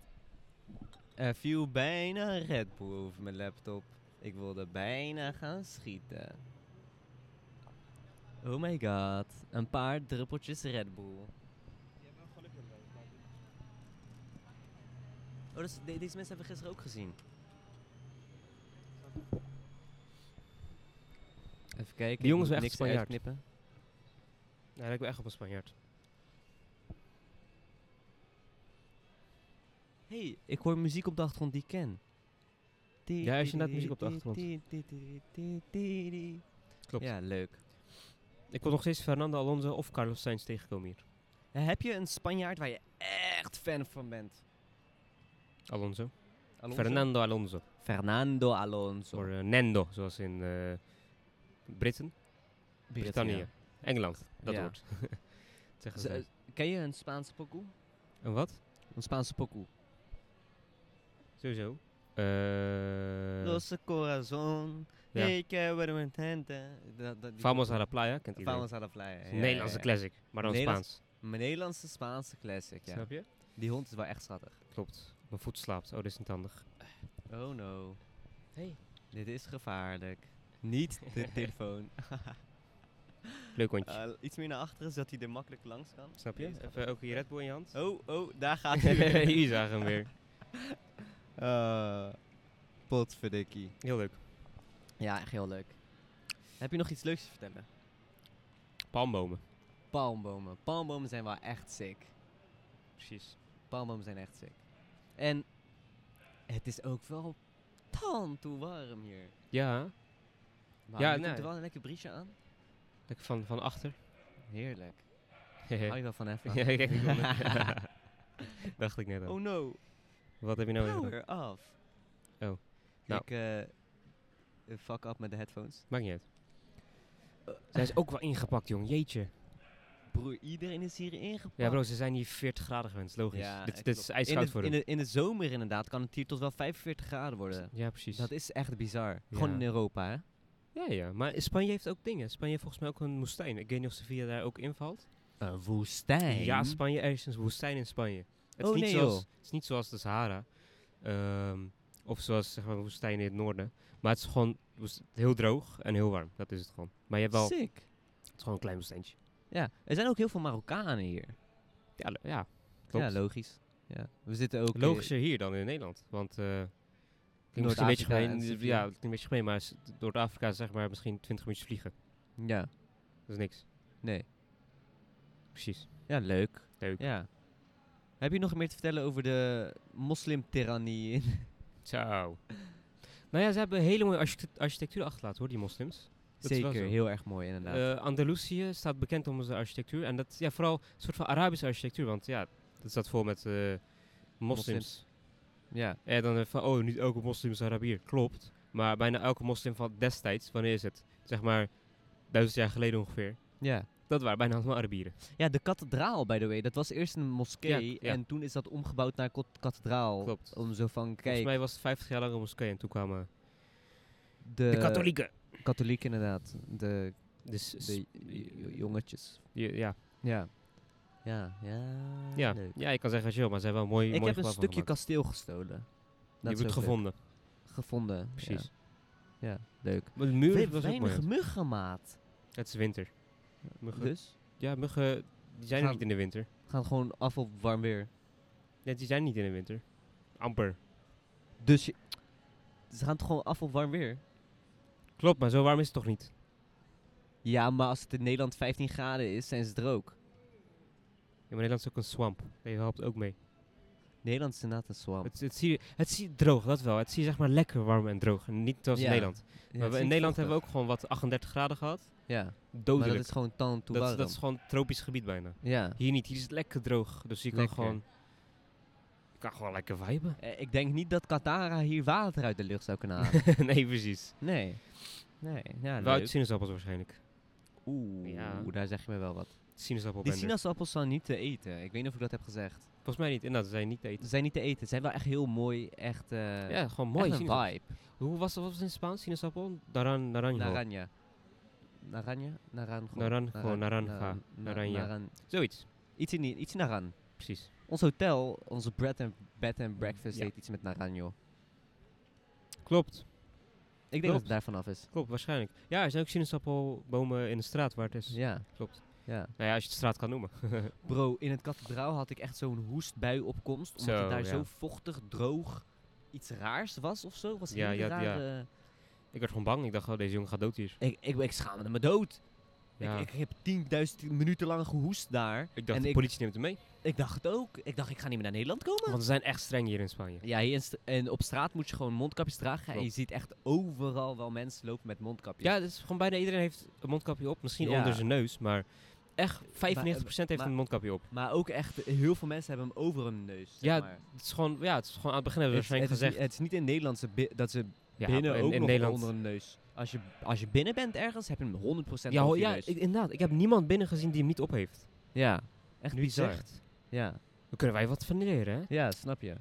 [SPEAKER 1] Oh Er viel bijna een Red Bull over mijn laptop. Ik wilde bijna gaan schieten. Oh my god, een paar druppeltjes Red Bull. Oh, dat is- de- deze mensen hebben we gisteren ook gezien. Even kijken. ik
[SPEAKER 2] jongens
[SPEAKER 1] moet
[SPEAKER 2] zijn echt
[SPEAKER 1] niks
[SPEAKER 2] Spanjaard.
[SPEAKER 1] uitknippen.
[SPEAKER 2] Ja, lijkt me echt op een Spanjaard.
[SPEAKER 1] hey, ik hoor muziek op de achtergrond die ik ken.
[SPEAKER 2] Ja, er is inderdaad muziek op de achtergrond. Klopt.
[SPEAKER 1] Ja, leuk.
[SPEAKER 2] Ik kon nog steeds Fernando Alonso of Carlos Sainz tegenkomen hier.
[SPEAKER 1] Eh, Heb je een Spanjaard waar je echt fan van bent?
[SPEAKER 2] Alonso.
[SPEAKER 1] Alonso?
[SPEAKER 2] Fernando Alonso.
[SPEAKER 1] Fernando Alonso.
[SPEAKER 2] Of eh, Nando, zoals in eh Britten. Brittannië. Engeland, dat
[SPEAKER 1] Ja.
[SPEAKER 2] woord. zeggen
[SPEAKER 1] Z-
[SPEAKER 2] ze.
[SPEAKER 1] eh, ken je een Spaanse pokoe?
[SPEAKER 2] Een wat?
[SPEAKER 1] Een Spaanse pokoe.
[SPEAKER 2] Sowieso. Eh
[SPEAKER 1] Los corazón.
[SPEAKER 2] Ja.
[SPEAKER 1] Ik heb er mijn tente. Dat- dat- die
[SPEAKER 2] Famos
[SPEAKER 1] pokoe.
[SPEAKER 2] a la playa, kent iedereen.
[SPEAKER 1] Vamos a la playa.
[SPEAKER 2] Het
[SPEAKER 1] ja,
[SPEAKER 2] is
[SPEAKER 1] ja,
[SPEAKER 2] een Nederlandse
[SPEAKER 1] ja.
[SPEAKER 2] classic, maar dan
[SPEAKER 1] Nederlands-
[SPEAKER 2] Spaans.
[SPEAKER 1] Een Nederlandse Spaanse classic, ja.
[SPEAKER 2] Snap je?
[SPEAKER 1] Die hond is wel echt schattig.
[SPEAKER 2] Klopt. Mijn voet slaapt. Oh, dit is niet handig.
[SPEAKER 1] Oh no.
[SPEAKER 2] Hey.
[SPEAKER 1] Dit is gevaarlijk. Niet de telefoon.
[SPEAKER 2] Leuk hondje.
[SPEAKER 1] Eh, iets meer naar achteren, zodat hij er makkelijk langs kan.
[SPEAKER 2] Snap je?
[SPEAKER 1] deze gaat
[SPEAKER 2] Even ook je Red Bull in je hand.
[SPEAKER 1] Oh, oh, daar gaat hij weer.
[SPEAKER 2] Hier zagen hem weer.
[SPEAKER 1] Eh, Potverdikkie.
[SPEAKER 2] Heel leuk.
[SPEAKER 1] Ja, echt heel leuk. Heb je nog iets leuks te vertellen?
[SPEAKER 2] Palmbomen.
[SPEAKER 1] Palmbomen. Palmbomen zijn wel echt sick.
[SPEAKER 2] Precies.
[SPEAKER 1] Palmbomen zijn echt sick. En het is ook wel tand toe warm hier.
[SPEAKER 2] Ja,
[SPEAKER 1] Maar
[SPEAKER 2] Ja,
[SPEAKER 1] ja,
[SPEAKER 2] nee.
[SPEAKER 1] komt er wel een lekker briesje aan.
[SPEAKER 2] lekker van, van achter.
[SPEAKER 1] Heerlijk. Hou
[SPEAKER 2] Oh, ja,
[SPEAKER 1] je wel van even?
[SPEAKER 2] kijk. ik wil het. Dacht ik net al.
[SPEAKER 1] oh no,
[SPEAKER 2] Wat heb je nou weer gedaan?
[SPEAKER 1] power off.
[SPEAKER 2] Oh, nou.
[SPEAKER 1] Ik eh, fuck up met de headphones.
[SPEAKER 2] Maakt niet uit. Zij is ook wel ingepakt, jong. Jeetje.
[SPEAKER 1] Broer, iedereen is hier ingepakt.
[SPEAKER 2] Ja, bro, ze zijn hier 40 graden gewend. Logisch.
[SPEAKER 1] Ja,
[SPEAKER 2] dit,
[SPEAKER 1] eh,
[SPEAKER 2] dit is
[SPEAKER 1] klopt.
[SPEAKER 2] ijskoud
[SPEAKER 1] in de,
[SPEAKER 2] voor
[SPEAKER 1] in
[SPEAKER 2] hem.
[SPEAKER 1] de, in de zomer inderdaad kan het hier tot wel 45 graden worden.
[SPEAKER 2] Ja, precies.
[SPEAKER 1] Dat is echt bizar. Gewoon in Europa, hè?
[SPEAKER 2] Ja, ja, maar Spanje heeft ook dingen. Spanje heeft volgens mij ook een woestijn. Ik weet niet of Sevilla daar ook invalt. Eh,
[SPEAKER 1] Een woestijn.
[SPEAKER 2] Ja, Spanje, er is een woestijn in Spanje. Het,
[SPEAKER 1] Oh,
[SPEAKER 2] is, niet
[SPEAKER 1] nee,
[SPEAKER 2] zoals,
[SPEAKER 1] joh.
[SPEAKER 2] het is niet zoals de Sahara. Ehm, of zoals zeg maar woestijn in het noorden. Maar het is gewoon woest- heel droog en heel warm. Dat is het gewoon. Maar je hebt wel, het
[SPEAKER 1] Sick.
[SPEAKER 2] is gewoon een klein woestijntje.
[SPEAKER 1] Ja, er zijn ook heel veel Marokkanen hier.
[SPEAKER 2] Ja, lo- ja klopt.
[SPEAKER 1] Ja, logisch. Ja. We zitten ook... eh,
[SPEAKER 2] Logischer hier dan in Nederland. Want eh klinkt misschien een beetje
[SPEAKER 1] Noord-Afrika
[SPEAKER 2] gemeen,
[SPEAKER 1] en
[SPEAKER 2] ja,
[SPEAKER 1] Sevilla.
[SPEAKER 2] het klinkt een beetje gemeen, maar s- door Afrika zeg maar misschien 20 minuten vliegen.
[SPEAKER 1] Ja,
[SPEAKER 2] Dat is niks.
[SPEAKER 1] nee.
[SPEAKER 2] Precies.
[SPEAKER 1] Ja, leuk.
[SPEAKER 2] Leuk.
[SPEAKER 1] Ja. Heb je nog meer te vertellen over de moslimtirannie in
[SPEAKER 2] Zo. nou ja, ze hebben een hele mooie architect- architectuur achtergelaten hoor, die moslims. Dat is wel
[SPEAKER 1] Zeker,
[SPEAKER 2] zo.
[SPEAKER 1] heel erg mooi inderdaad.
[SPEAKER 2] Eh, Andalusië staat bekend om zijn architectuur. En dat ja, vooral een soort van Arabische architectuur. Want ja, dat staat vol met eh, moslims.
[SPEAKER 1] Moslims. ja,
[SPEAKER 2] En dan eh, van, oh, niet elke moslim is Arabier. Klopt. Maar bijna elke moslim van destijds, wanneer is het? Zeg maar duizend jaar geleden ongeveer.
[SPEAKER 1] ja.
[SPEAKER 2] Dat waren bijna allemaal Arabieren.
[SPEAKER 1] Ja, de kathedraal, by the way. Dat was eerst een moskee
[SPEAKER 2] Ja, ja.
[SPEAKER 1] en toen is dat omgebouwd naar kot- kathedraal.
[SPEAKER 2] Klopt.
[SPEAKER 1] Om zo van,
[SPEAKER 2] Volgens
[SPEAKER 1] Oh, kijk,
[SPEAKER 2] mij was het 50 jaar lang een moskee en toen kwamen
[SPEAKER 1] de,
[SPEAKER 2] de katholieken.
[SPEAKER 1] katholiek inderdaad. De,
[SPEAKER 2] Dus, s-
[SPEAKER 1] de j- j- jongetjes.
[SPEAKER 2] je- ja,
[SPEAKER 1] Ja. Ja, ja,
[SPEAKER 2] ja.
[SPEAKER 1] leuk.
[SPEAKER 2] ja, je kan zeggen, joh, maar ze hebben wel mooi
[SPEAKER 1] Ik
[SPEAKER 2] mooi
[SPEAKER 1] heb een
[SPEAKER 2] gebouw van
[SPEAKER 1] stukje
[SPEAKER 2] gemaakt.
[SPEAKER 1] kasteel gestolen.
[SPEAKER 2] Die wordt
[SPEAKER 1] is ook leuk.
[SPEAKER 2] gevonden.
[SPEAKER 1] Gevonden,
[SPEAKER 2] Precies.
[SPEAKER 1] Ja, ja leuk.
[SPEAKER 2] Maar de muur
[SPEAKER 1] We
[SPEAKER 2] was ook mooi.
[SPEAKER 1] weinig muggen, maat.
[SPEAKER 2] Het is winter. Muggen.
[SPEAKER 1] Dus,
[SPEAKER 2] Ja, muggen die zijn er
[SPEAKER 1] Gaan-
[SPEAKER 2] niet in de winter.
[SPEAKER 1] we gaan gewoon af op warm weer.
[SPEAKER 2] Ja, die zijn niet in de winter. Amper.
[SPEAKER 1] Dus je- ze gaan toch gewoon af op warm weer?
[SPEAKER 2] Klopt, maar zo warm is het toch niet?
[SPEAKER 1] Ja, maar als het in Nederland 15 graden is, zijn ze er ook.
[SPEAKER 2] Ja, maar Nederland is ook een swamp. Nee, dat helpt ook mee.
[SPEAKER 1] Nederland is inderdaad een swamp.
[SPEAKER 2] Het, het, zie je, het zie je droog, dat wel. Het zie je zeg maar lekker warm en droog. En niet zoals
[SPEAKER 1] Ja.
[SPEAKER 2] in Nederland.
[SPEAKER 1] Ja, het
[SPEAKER 2] maar we-
[SPEAKER 1] is
[SPEAKER 2] in
[SPEAKER 1] niet
[SPEAKER 2] Nederland hebben
[SPEAKER 1] vochtig.
[SPEAKER 2] we ook gewoon wat 38 graden gehad.
[SPEAKER 1] Ja, maar dat
[SPEAKER 2] Dodelijk.
[SPEAKER 1] is gewoon tan toe
[SPEAKER 2] dat, is,
[SPEAKER 1] warm.
[SPEAKER 2] dat is gewoon tropisch gebied bijna.
[SPEAKER 1] Ja.
[SPEAKER 2] Hier niet, hier is het lekker droog. Dus je kan
[SPEAKER 1] Lekker.
[SPEAKER 2] gewoon... Je kan gewoon lekker viben.
[SPEAKER 1] Eh, ik denk niet dat Katara hier water uit de lucht zou kunnen halen.
[SPEAKER 2] nee, precies.
[SPEAKER 1] nee. Nee, ja,
[SPEAKER 2] Wel uit
[SPEAKER 1] leuk.
[SPEAKER 2] sinaasappels waarschijnlijk.
[SPEAKER 1] Oeh,
[SPEAKER 2] Ja.
[SPEAKER 1] daar zeg je me wel wat. Die
[SPEAKER 2] Sinaasappelbender.
[SPEAKER 1] sinaasappels zijn niet te eten. Ik weet niet of ik dat heb gezegd.
[SPEAKER 2] Volgens mij niet. Inderdaad, ze zijn niet te eten.
[SPEAKER 1] Ze zijn niet te eten. Ze zijn wel echt heel mooi. Echt, eh
[SPEAKER 2] ja, gewoon
[SPEAKER 1] mooi
[SPEAKER 2] mooi.
[SPEAKER 1] echt een
[SPEAKER 2] sinaasappel.
[SPEAKER 1] vibe.
[SPEAKER 2] Hoe was dat wat was het in Spaans? Sinaasappel? Naran, naranjo.
[SPEAKER 1] Naranja. Naranja? Naranjo.
[SPEAKER 2] Naranjo,
[SPEAKER 1] Naran-
[SPEAKER 2] naranja,
[SPEAKER 1] naran- na-
[SPEAKER 2] naranja.
[SPEAKER 1] naran-
[SPEAKER 2] Zoiets.
[SPEAKER 1] Iets in, die- iets in naran.
[SPEAKER 2] Precies.
[SPEAKER 1] Ons hotel, onze bread and, bed and breakfast
[SPEAKER 2] Ja.
[SPEAKER 1] heet iets met naranjo.
[SPEAKER 2] Klopt.
[SPEAKER 1] Ik denk
[SPEAKER 2] Klopt.
[SPEAKER 1] dat het daar vanaf is.
[SPEAKER 2] Klopt, waarschijnlijk. Ja, er zijn ook sinaasappelbomen in de straat waar het is.
[SPEAKER 1] Ja,
[SPEAKER 2] Klopt.
[SPEAKER 1] ja.
[SPEAKER 2] Nou ja, als je het straat kan noemen.
[SPEAKER 1] Bro, in het kathedraal had ik echt zo'n hoestbui opkomst. Omdat
[SPEAKER 2] Zo,
[SPEAKER 1] het daar
[SPEAKER 2] ja.
[SPEAKER 1] zo vochtig, droog, iets raars was of zo. Was
[SPEAKER 2] Ja,
[SPEAKER 1] ja, ja,
[SPEAKER 2] ja, ja. ik werd gewoon bang. Ik dacht, oh, deze jongen gaat dood hier.
[SPEAKER 1] eh, Ik, ik, ik schaamde me dood.
[SPEAKER 2] Ja.
[SPEAKER 1] Ik, ik heb 10.000 minuten lang gehoest daar.
[SPEAKER 2] Ik dacht,
[SPEAKER 1] en
[SPEAKER 2] de
[SPEAKER 1] ik-
[SPEAKER 2] politie neemt hem mee.
[SPEAKER 1] Ik dacht het ook. Ik dacht, ik ga niet meer naar Nederland komen.
[SPEAKER 2] Want ze zijn echt streng hier in Spanje.
[SPEAKER 1] Ja, hier in st- en op straat moet je gewoon mondkapjes dragen. En je
[SPEAKER 2] Klopt.
[SPEAKER 1] ziet echt overal wel mensen lopen met mondkapjes.
[SPEAKER 2] Ja, dus gewoon bijna iedereen heeft een mondkapje op. Misschien
[SPEAKER 1] Ja.
[SPEAKER 2] onder zijn neus, maar echt 95% heeft
[SPEAKER 1] maar-
[SPEAKER 2] een mondkapje op.
[SPEAKER 1] Maar ook echt, heel veel mensen hebben hem over hun neus. Zeg
[SPEAKER 2] Ja,
[SPEAKER 1] maar.
[SPEAKER 2] Het is gewoon, ja, het is gewoon aan het begin hebben we
[SPEAKER 1] het, het,
[SPEAKER 2] waarschijnlijk
[SPEAKER 1] is niet,
[SPEAKER 2] gezegd.
[SPEAKER 1] het is niet in Nederland ze bi- dat ze
[SPEAKER 2] Ja,
[SPEAKER 1] binnen
[SPEAKER 2] in,
[SPEAKER 1] ook
[SPEAKER 2] in
[SPEAKER 1] nog
[SPEAKER 2] Nederland.
[SPEAKER 1] onder hun neus. Als je, als je binnen bent ergens, heb je hem 100%
[SPEAKER 2] ja, ho-
[SPEAKER 1] over je
[SPEAKER 2] ja
[SPEAKER 1] neus.
[SPEAKER 2] ik, inderdaad. Ik heb niemand binnen gezien die hem niet op heeft.
[SPEAKER 1] ja, echt
[SPEAKER 2] Nu je het
[SPEAKER 1] bizar.
[SPEAKER 2] zegt.
[SPEAKER 1] Ja.
[SPEAKER 2] Dan kunnen wij wat van leren, hè?
[SPEAKER 1] ja, snap je.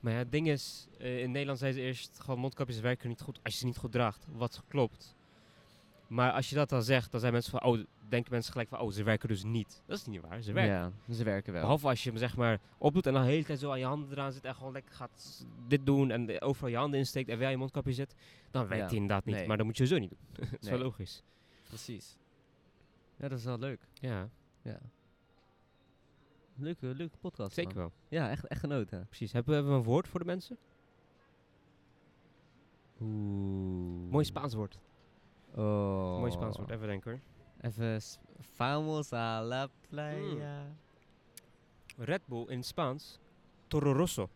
[SPEAKER 2] Maar ja, het ding is, eh, in Nederland zei ze eerst gewoon mondkapjes werken niet goed als je ze niet goed draagt, wat klopt. Maar als je dat dan zegt, dan zijn mensen van, oh, denken mensen gelijk van, oh, ze werken dus niet. Dat is niet waar, ze werken.
[SPEAKER 1] Ja, ze werken wel.
[SPEAKER 2] Behalve als je hem zeg maar opdoet en dan de hele tijd zo aan je handen eraan zit en gewoon lekker gaat s- dit doen en eh, overal je handen insteekt en wel je mondkapje zit, dan werkt
[SPEAKER 1] Ja.
[SPEAKER 2] hij inderdaad niet.
[SPEAKER 1] Nee.
[SPEAKER 2] Maar dat moet je zo niet doen. dat is wel
[SPEAKER 1] Nee.
[SPEAKER 2] logisch.
[SPEAKER 1] Precies. Ja, dat is wel leuk.
[SPEAKER 2] Ja,
[SPEAKER 1] Ja. Leuke, leuke podcast.
[SPEAKER 2] zeker
[SPEAKER 1] man.
[SPEAKER 2] wel.
[SPEAKER 1] Ja, echt, echt genoten.
[SPEAKER 2] Precies. Hebben we, hebben we een woord voor de mensen?
[SPEAKER 1] Oeh.
[SPEAKER 2] Mooi Spaans woord.
[SPEAKER 1] Mm. Oh.
[SPEAKER 2] Mooi Spaans woord, even denken hoor.
[SPEAKER 1] Even s- Vamos a la playa.
[SPEAKER 2] Red Bull in het Spaans, Toro Rosso.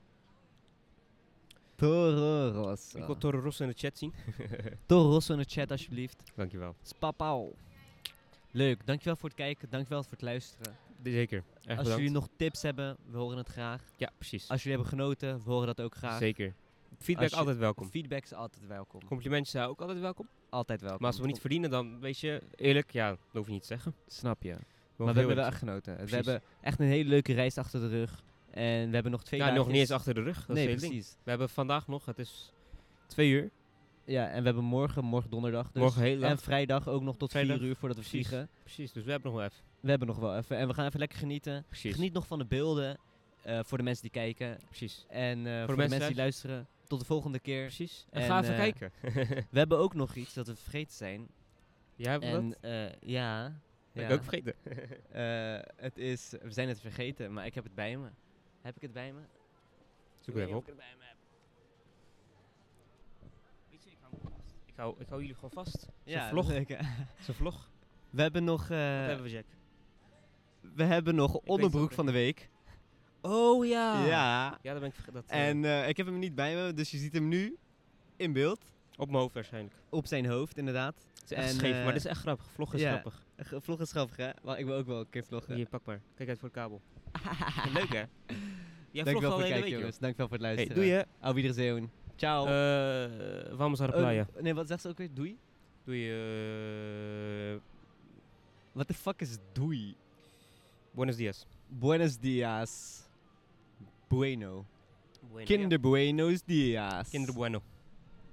[SPEAKER 1] Toro
[SPEAKER 2] Ik wil
[SPEAKER 1] Rosso.
[SPEAKER 2] Toro Rosso in de chat zien.
[SPEAKER 1] Toro Rosso in de chat alsjeblieft.
[SPEAKER 2] Dankjewel.
[SPEAKER 1] Spapau. Leuk, dankjewel voor het kijken, dankjewel voor het luisteren.
[SPEAKER 2] Zeker. Erg
[SPEAKER 1] Als
[SPEAKER 2] bedankt.
[SPEAKER 1] jullie nog tips hebben, we horen het graag.
[SPEAKER 2] ja, precies.
[SPEAKER 1] Als jullie hebben genoten, we horen dat ook graag.
[SPEAKER 2] Zeker. Feedback
[SPEAKER 1] Als je-
[SPEAKER 2] altijd welkom.
[SPEAKER 1] Feedback is altijd welkom.
[SPEAKER 2] Complimentjes zijn ook altijd welkom.
[SPEAKER 1] Altijd welkom.
[SPEAKER 2] Maar als we niet verdienen, dan weet je, eerlijk, ja, dat hoef je niet te zeggen. We
[SPEAKER 1] Snap je. Maar
[SPEAKER 2] mogen
[SPEAKER 1] we
[SPEAKER 2] heel
[SPEAKER 1] hebben wel
[SPEAKER 2] eerlijk
[SPEAKER 1] echt genoten.
[SPEAKER 2] Precies.
[SPEAKER 1] We hebben echt een hele leuke reis achter de rug. En we hebben nog twee
[SPEAKER 2] zijn. Ja,
[SPEAKER 1] dagen
[SPEAKER 2] nog niet eens achter de rug. Dat
[SPEAKER 1] Nee,
[SPEAKER 2] is het hele ding.
[SPEAKER 1] precies.
[SPEAKER 2] We hebben vandaag nog, het is twee uur.
[SPEAKER 1] Ja, en we hebben morgen, morgen donderdag dus.
[SPEAKER 2] Morgen heel
[SPEAKER 1] En
[SPEAKER 2] lang.
[SPEAKER 1] vrijdag ook nog tot
[SPEAKER 2] Vrijdag,
[SPEAKER 1] 4 uur voordat we
[SPEAKER 2] precies.
[SPEAKER 1] vliegen.
[SPEAKER 2] Precies, dus we hebben nog wel even.
[SPEAKER 1] We hebben nog wel even. En we gaan even lekker genieten.
[SPEAKER 2] Precies.
[SPEAKER 1] Geniet nog van de beelden eh, voor de mensen die kijken.
[SPEAKER 2] Precies.
[SPEAKER 1] En eh, voor, de mensen die luisteren. Tot de volgende keer.
[SPEAKER 2] Precies. En,
[SPEAKER 1] En,
[SPEAKER 2] ga even
[SPEAKER 1] eh,
[SPEAKER 2] kijken.
[SPEAKER 1] We hebben ook nog iets dat we vergeten zijn.
[SPEAKER 2] Jij hebt dat?
[SPEAKER 1] En eh, ja,
[SPEAKER 2] Ben
[SPEAKER 1] ja.
[SPEAKER 2] ik ook vergeten.
[SPEAKER 1] Eh, het is, we zijn het vergeten, maar ik heb het bij me. Heb ik het bij me? weet
[SPEAKER 2] Zoek het even
[SPEAKER 1] niet of
[SPEAKER 2] op. Weet je, ik hou hem vast. Ik hou, ik hou jullie gewoon vast. Zo'n
[SPEAKER 1] Ja,
[SPEAKER 2] vlog.
[SPEAKER 1] leuk, hè?
[SPEAKER 2] Zo'n vlog.
[SPEAKER 1] We hebben nog, eh,
[SPEAKER 2] Wat hebben we, Jack?
[SPEAKER 1] we hebben nog
[SPEAKER 2] het ook
[SPEAKER 1] onderbroek
[SPEAKER 2] niet.
[SPEAKER 1] van de week.
[SPEAKER 2] Oh ja.
[SPEAKER 1] Ja.
[SPEAKER 2] Ja, dat ben ik vergeten. dat, eh,
[SPEAKER 1] En eh, ik heb hem niet bij me, dus je ziet hem nu in beeld.
[SPEAKER 2] op mijn hoofd waarschijnlijk.
[SPEAKER 1] Op zijn hoofd, inderdaad.
[SPEAKER 2] Het is echt
[SPEAKER 1] En,
[SPEAKER 2] scheef,
[SPEAKER 1] eh,
[SPEAKER 2] maar dit is echt grappig. Vloggen is
[SPEAKER 1] ja.
[SPEAKER 2] grappig.
[SPEAKER 1] Ge- Vloggen is grappig, hè? Maar ik wil ook wel een keer vloggen.
[SPEAKER 2] Hier, pak maar. Kijk uit voor het kabel. Leuk hè? Jij vlogt
[SPEAKER 1] Dankjewel
[SPEAKER 2] al
[SPEAKER 1] voor
[SPEAKER 2] de
[SPEAKER 1] het kijken,
[SPEAKER 2] hele week, joh.
[SPEAKER 1] jongens. Dankjewel voor het
[SPEAKER 2] Hey,
[SPEAKER 1] luisteren.
[SPEAKER 2] doe je.
[SPEAKER 1] Au revoir. Ciao.
[SPEAKER 2] Eh, vamos a la
[SPEAKER 1] Oh,
[SPEAKER 2] playa.
[SPEAKER 1] nee, wat zegt ze ook weer? Doei?
[SPEAKER 2] Doe je...
[SPEAKER 1] What the fuck is doei?
[SPEAKER 2] buenos dias.
[SPEAKER 1] Buenos dias. Bueno.
[SPEAKER 2] Bueno, ja.
[SPEAKER 1] Kinder buenos dias.
[SPEAKER 2] Kinder bueno.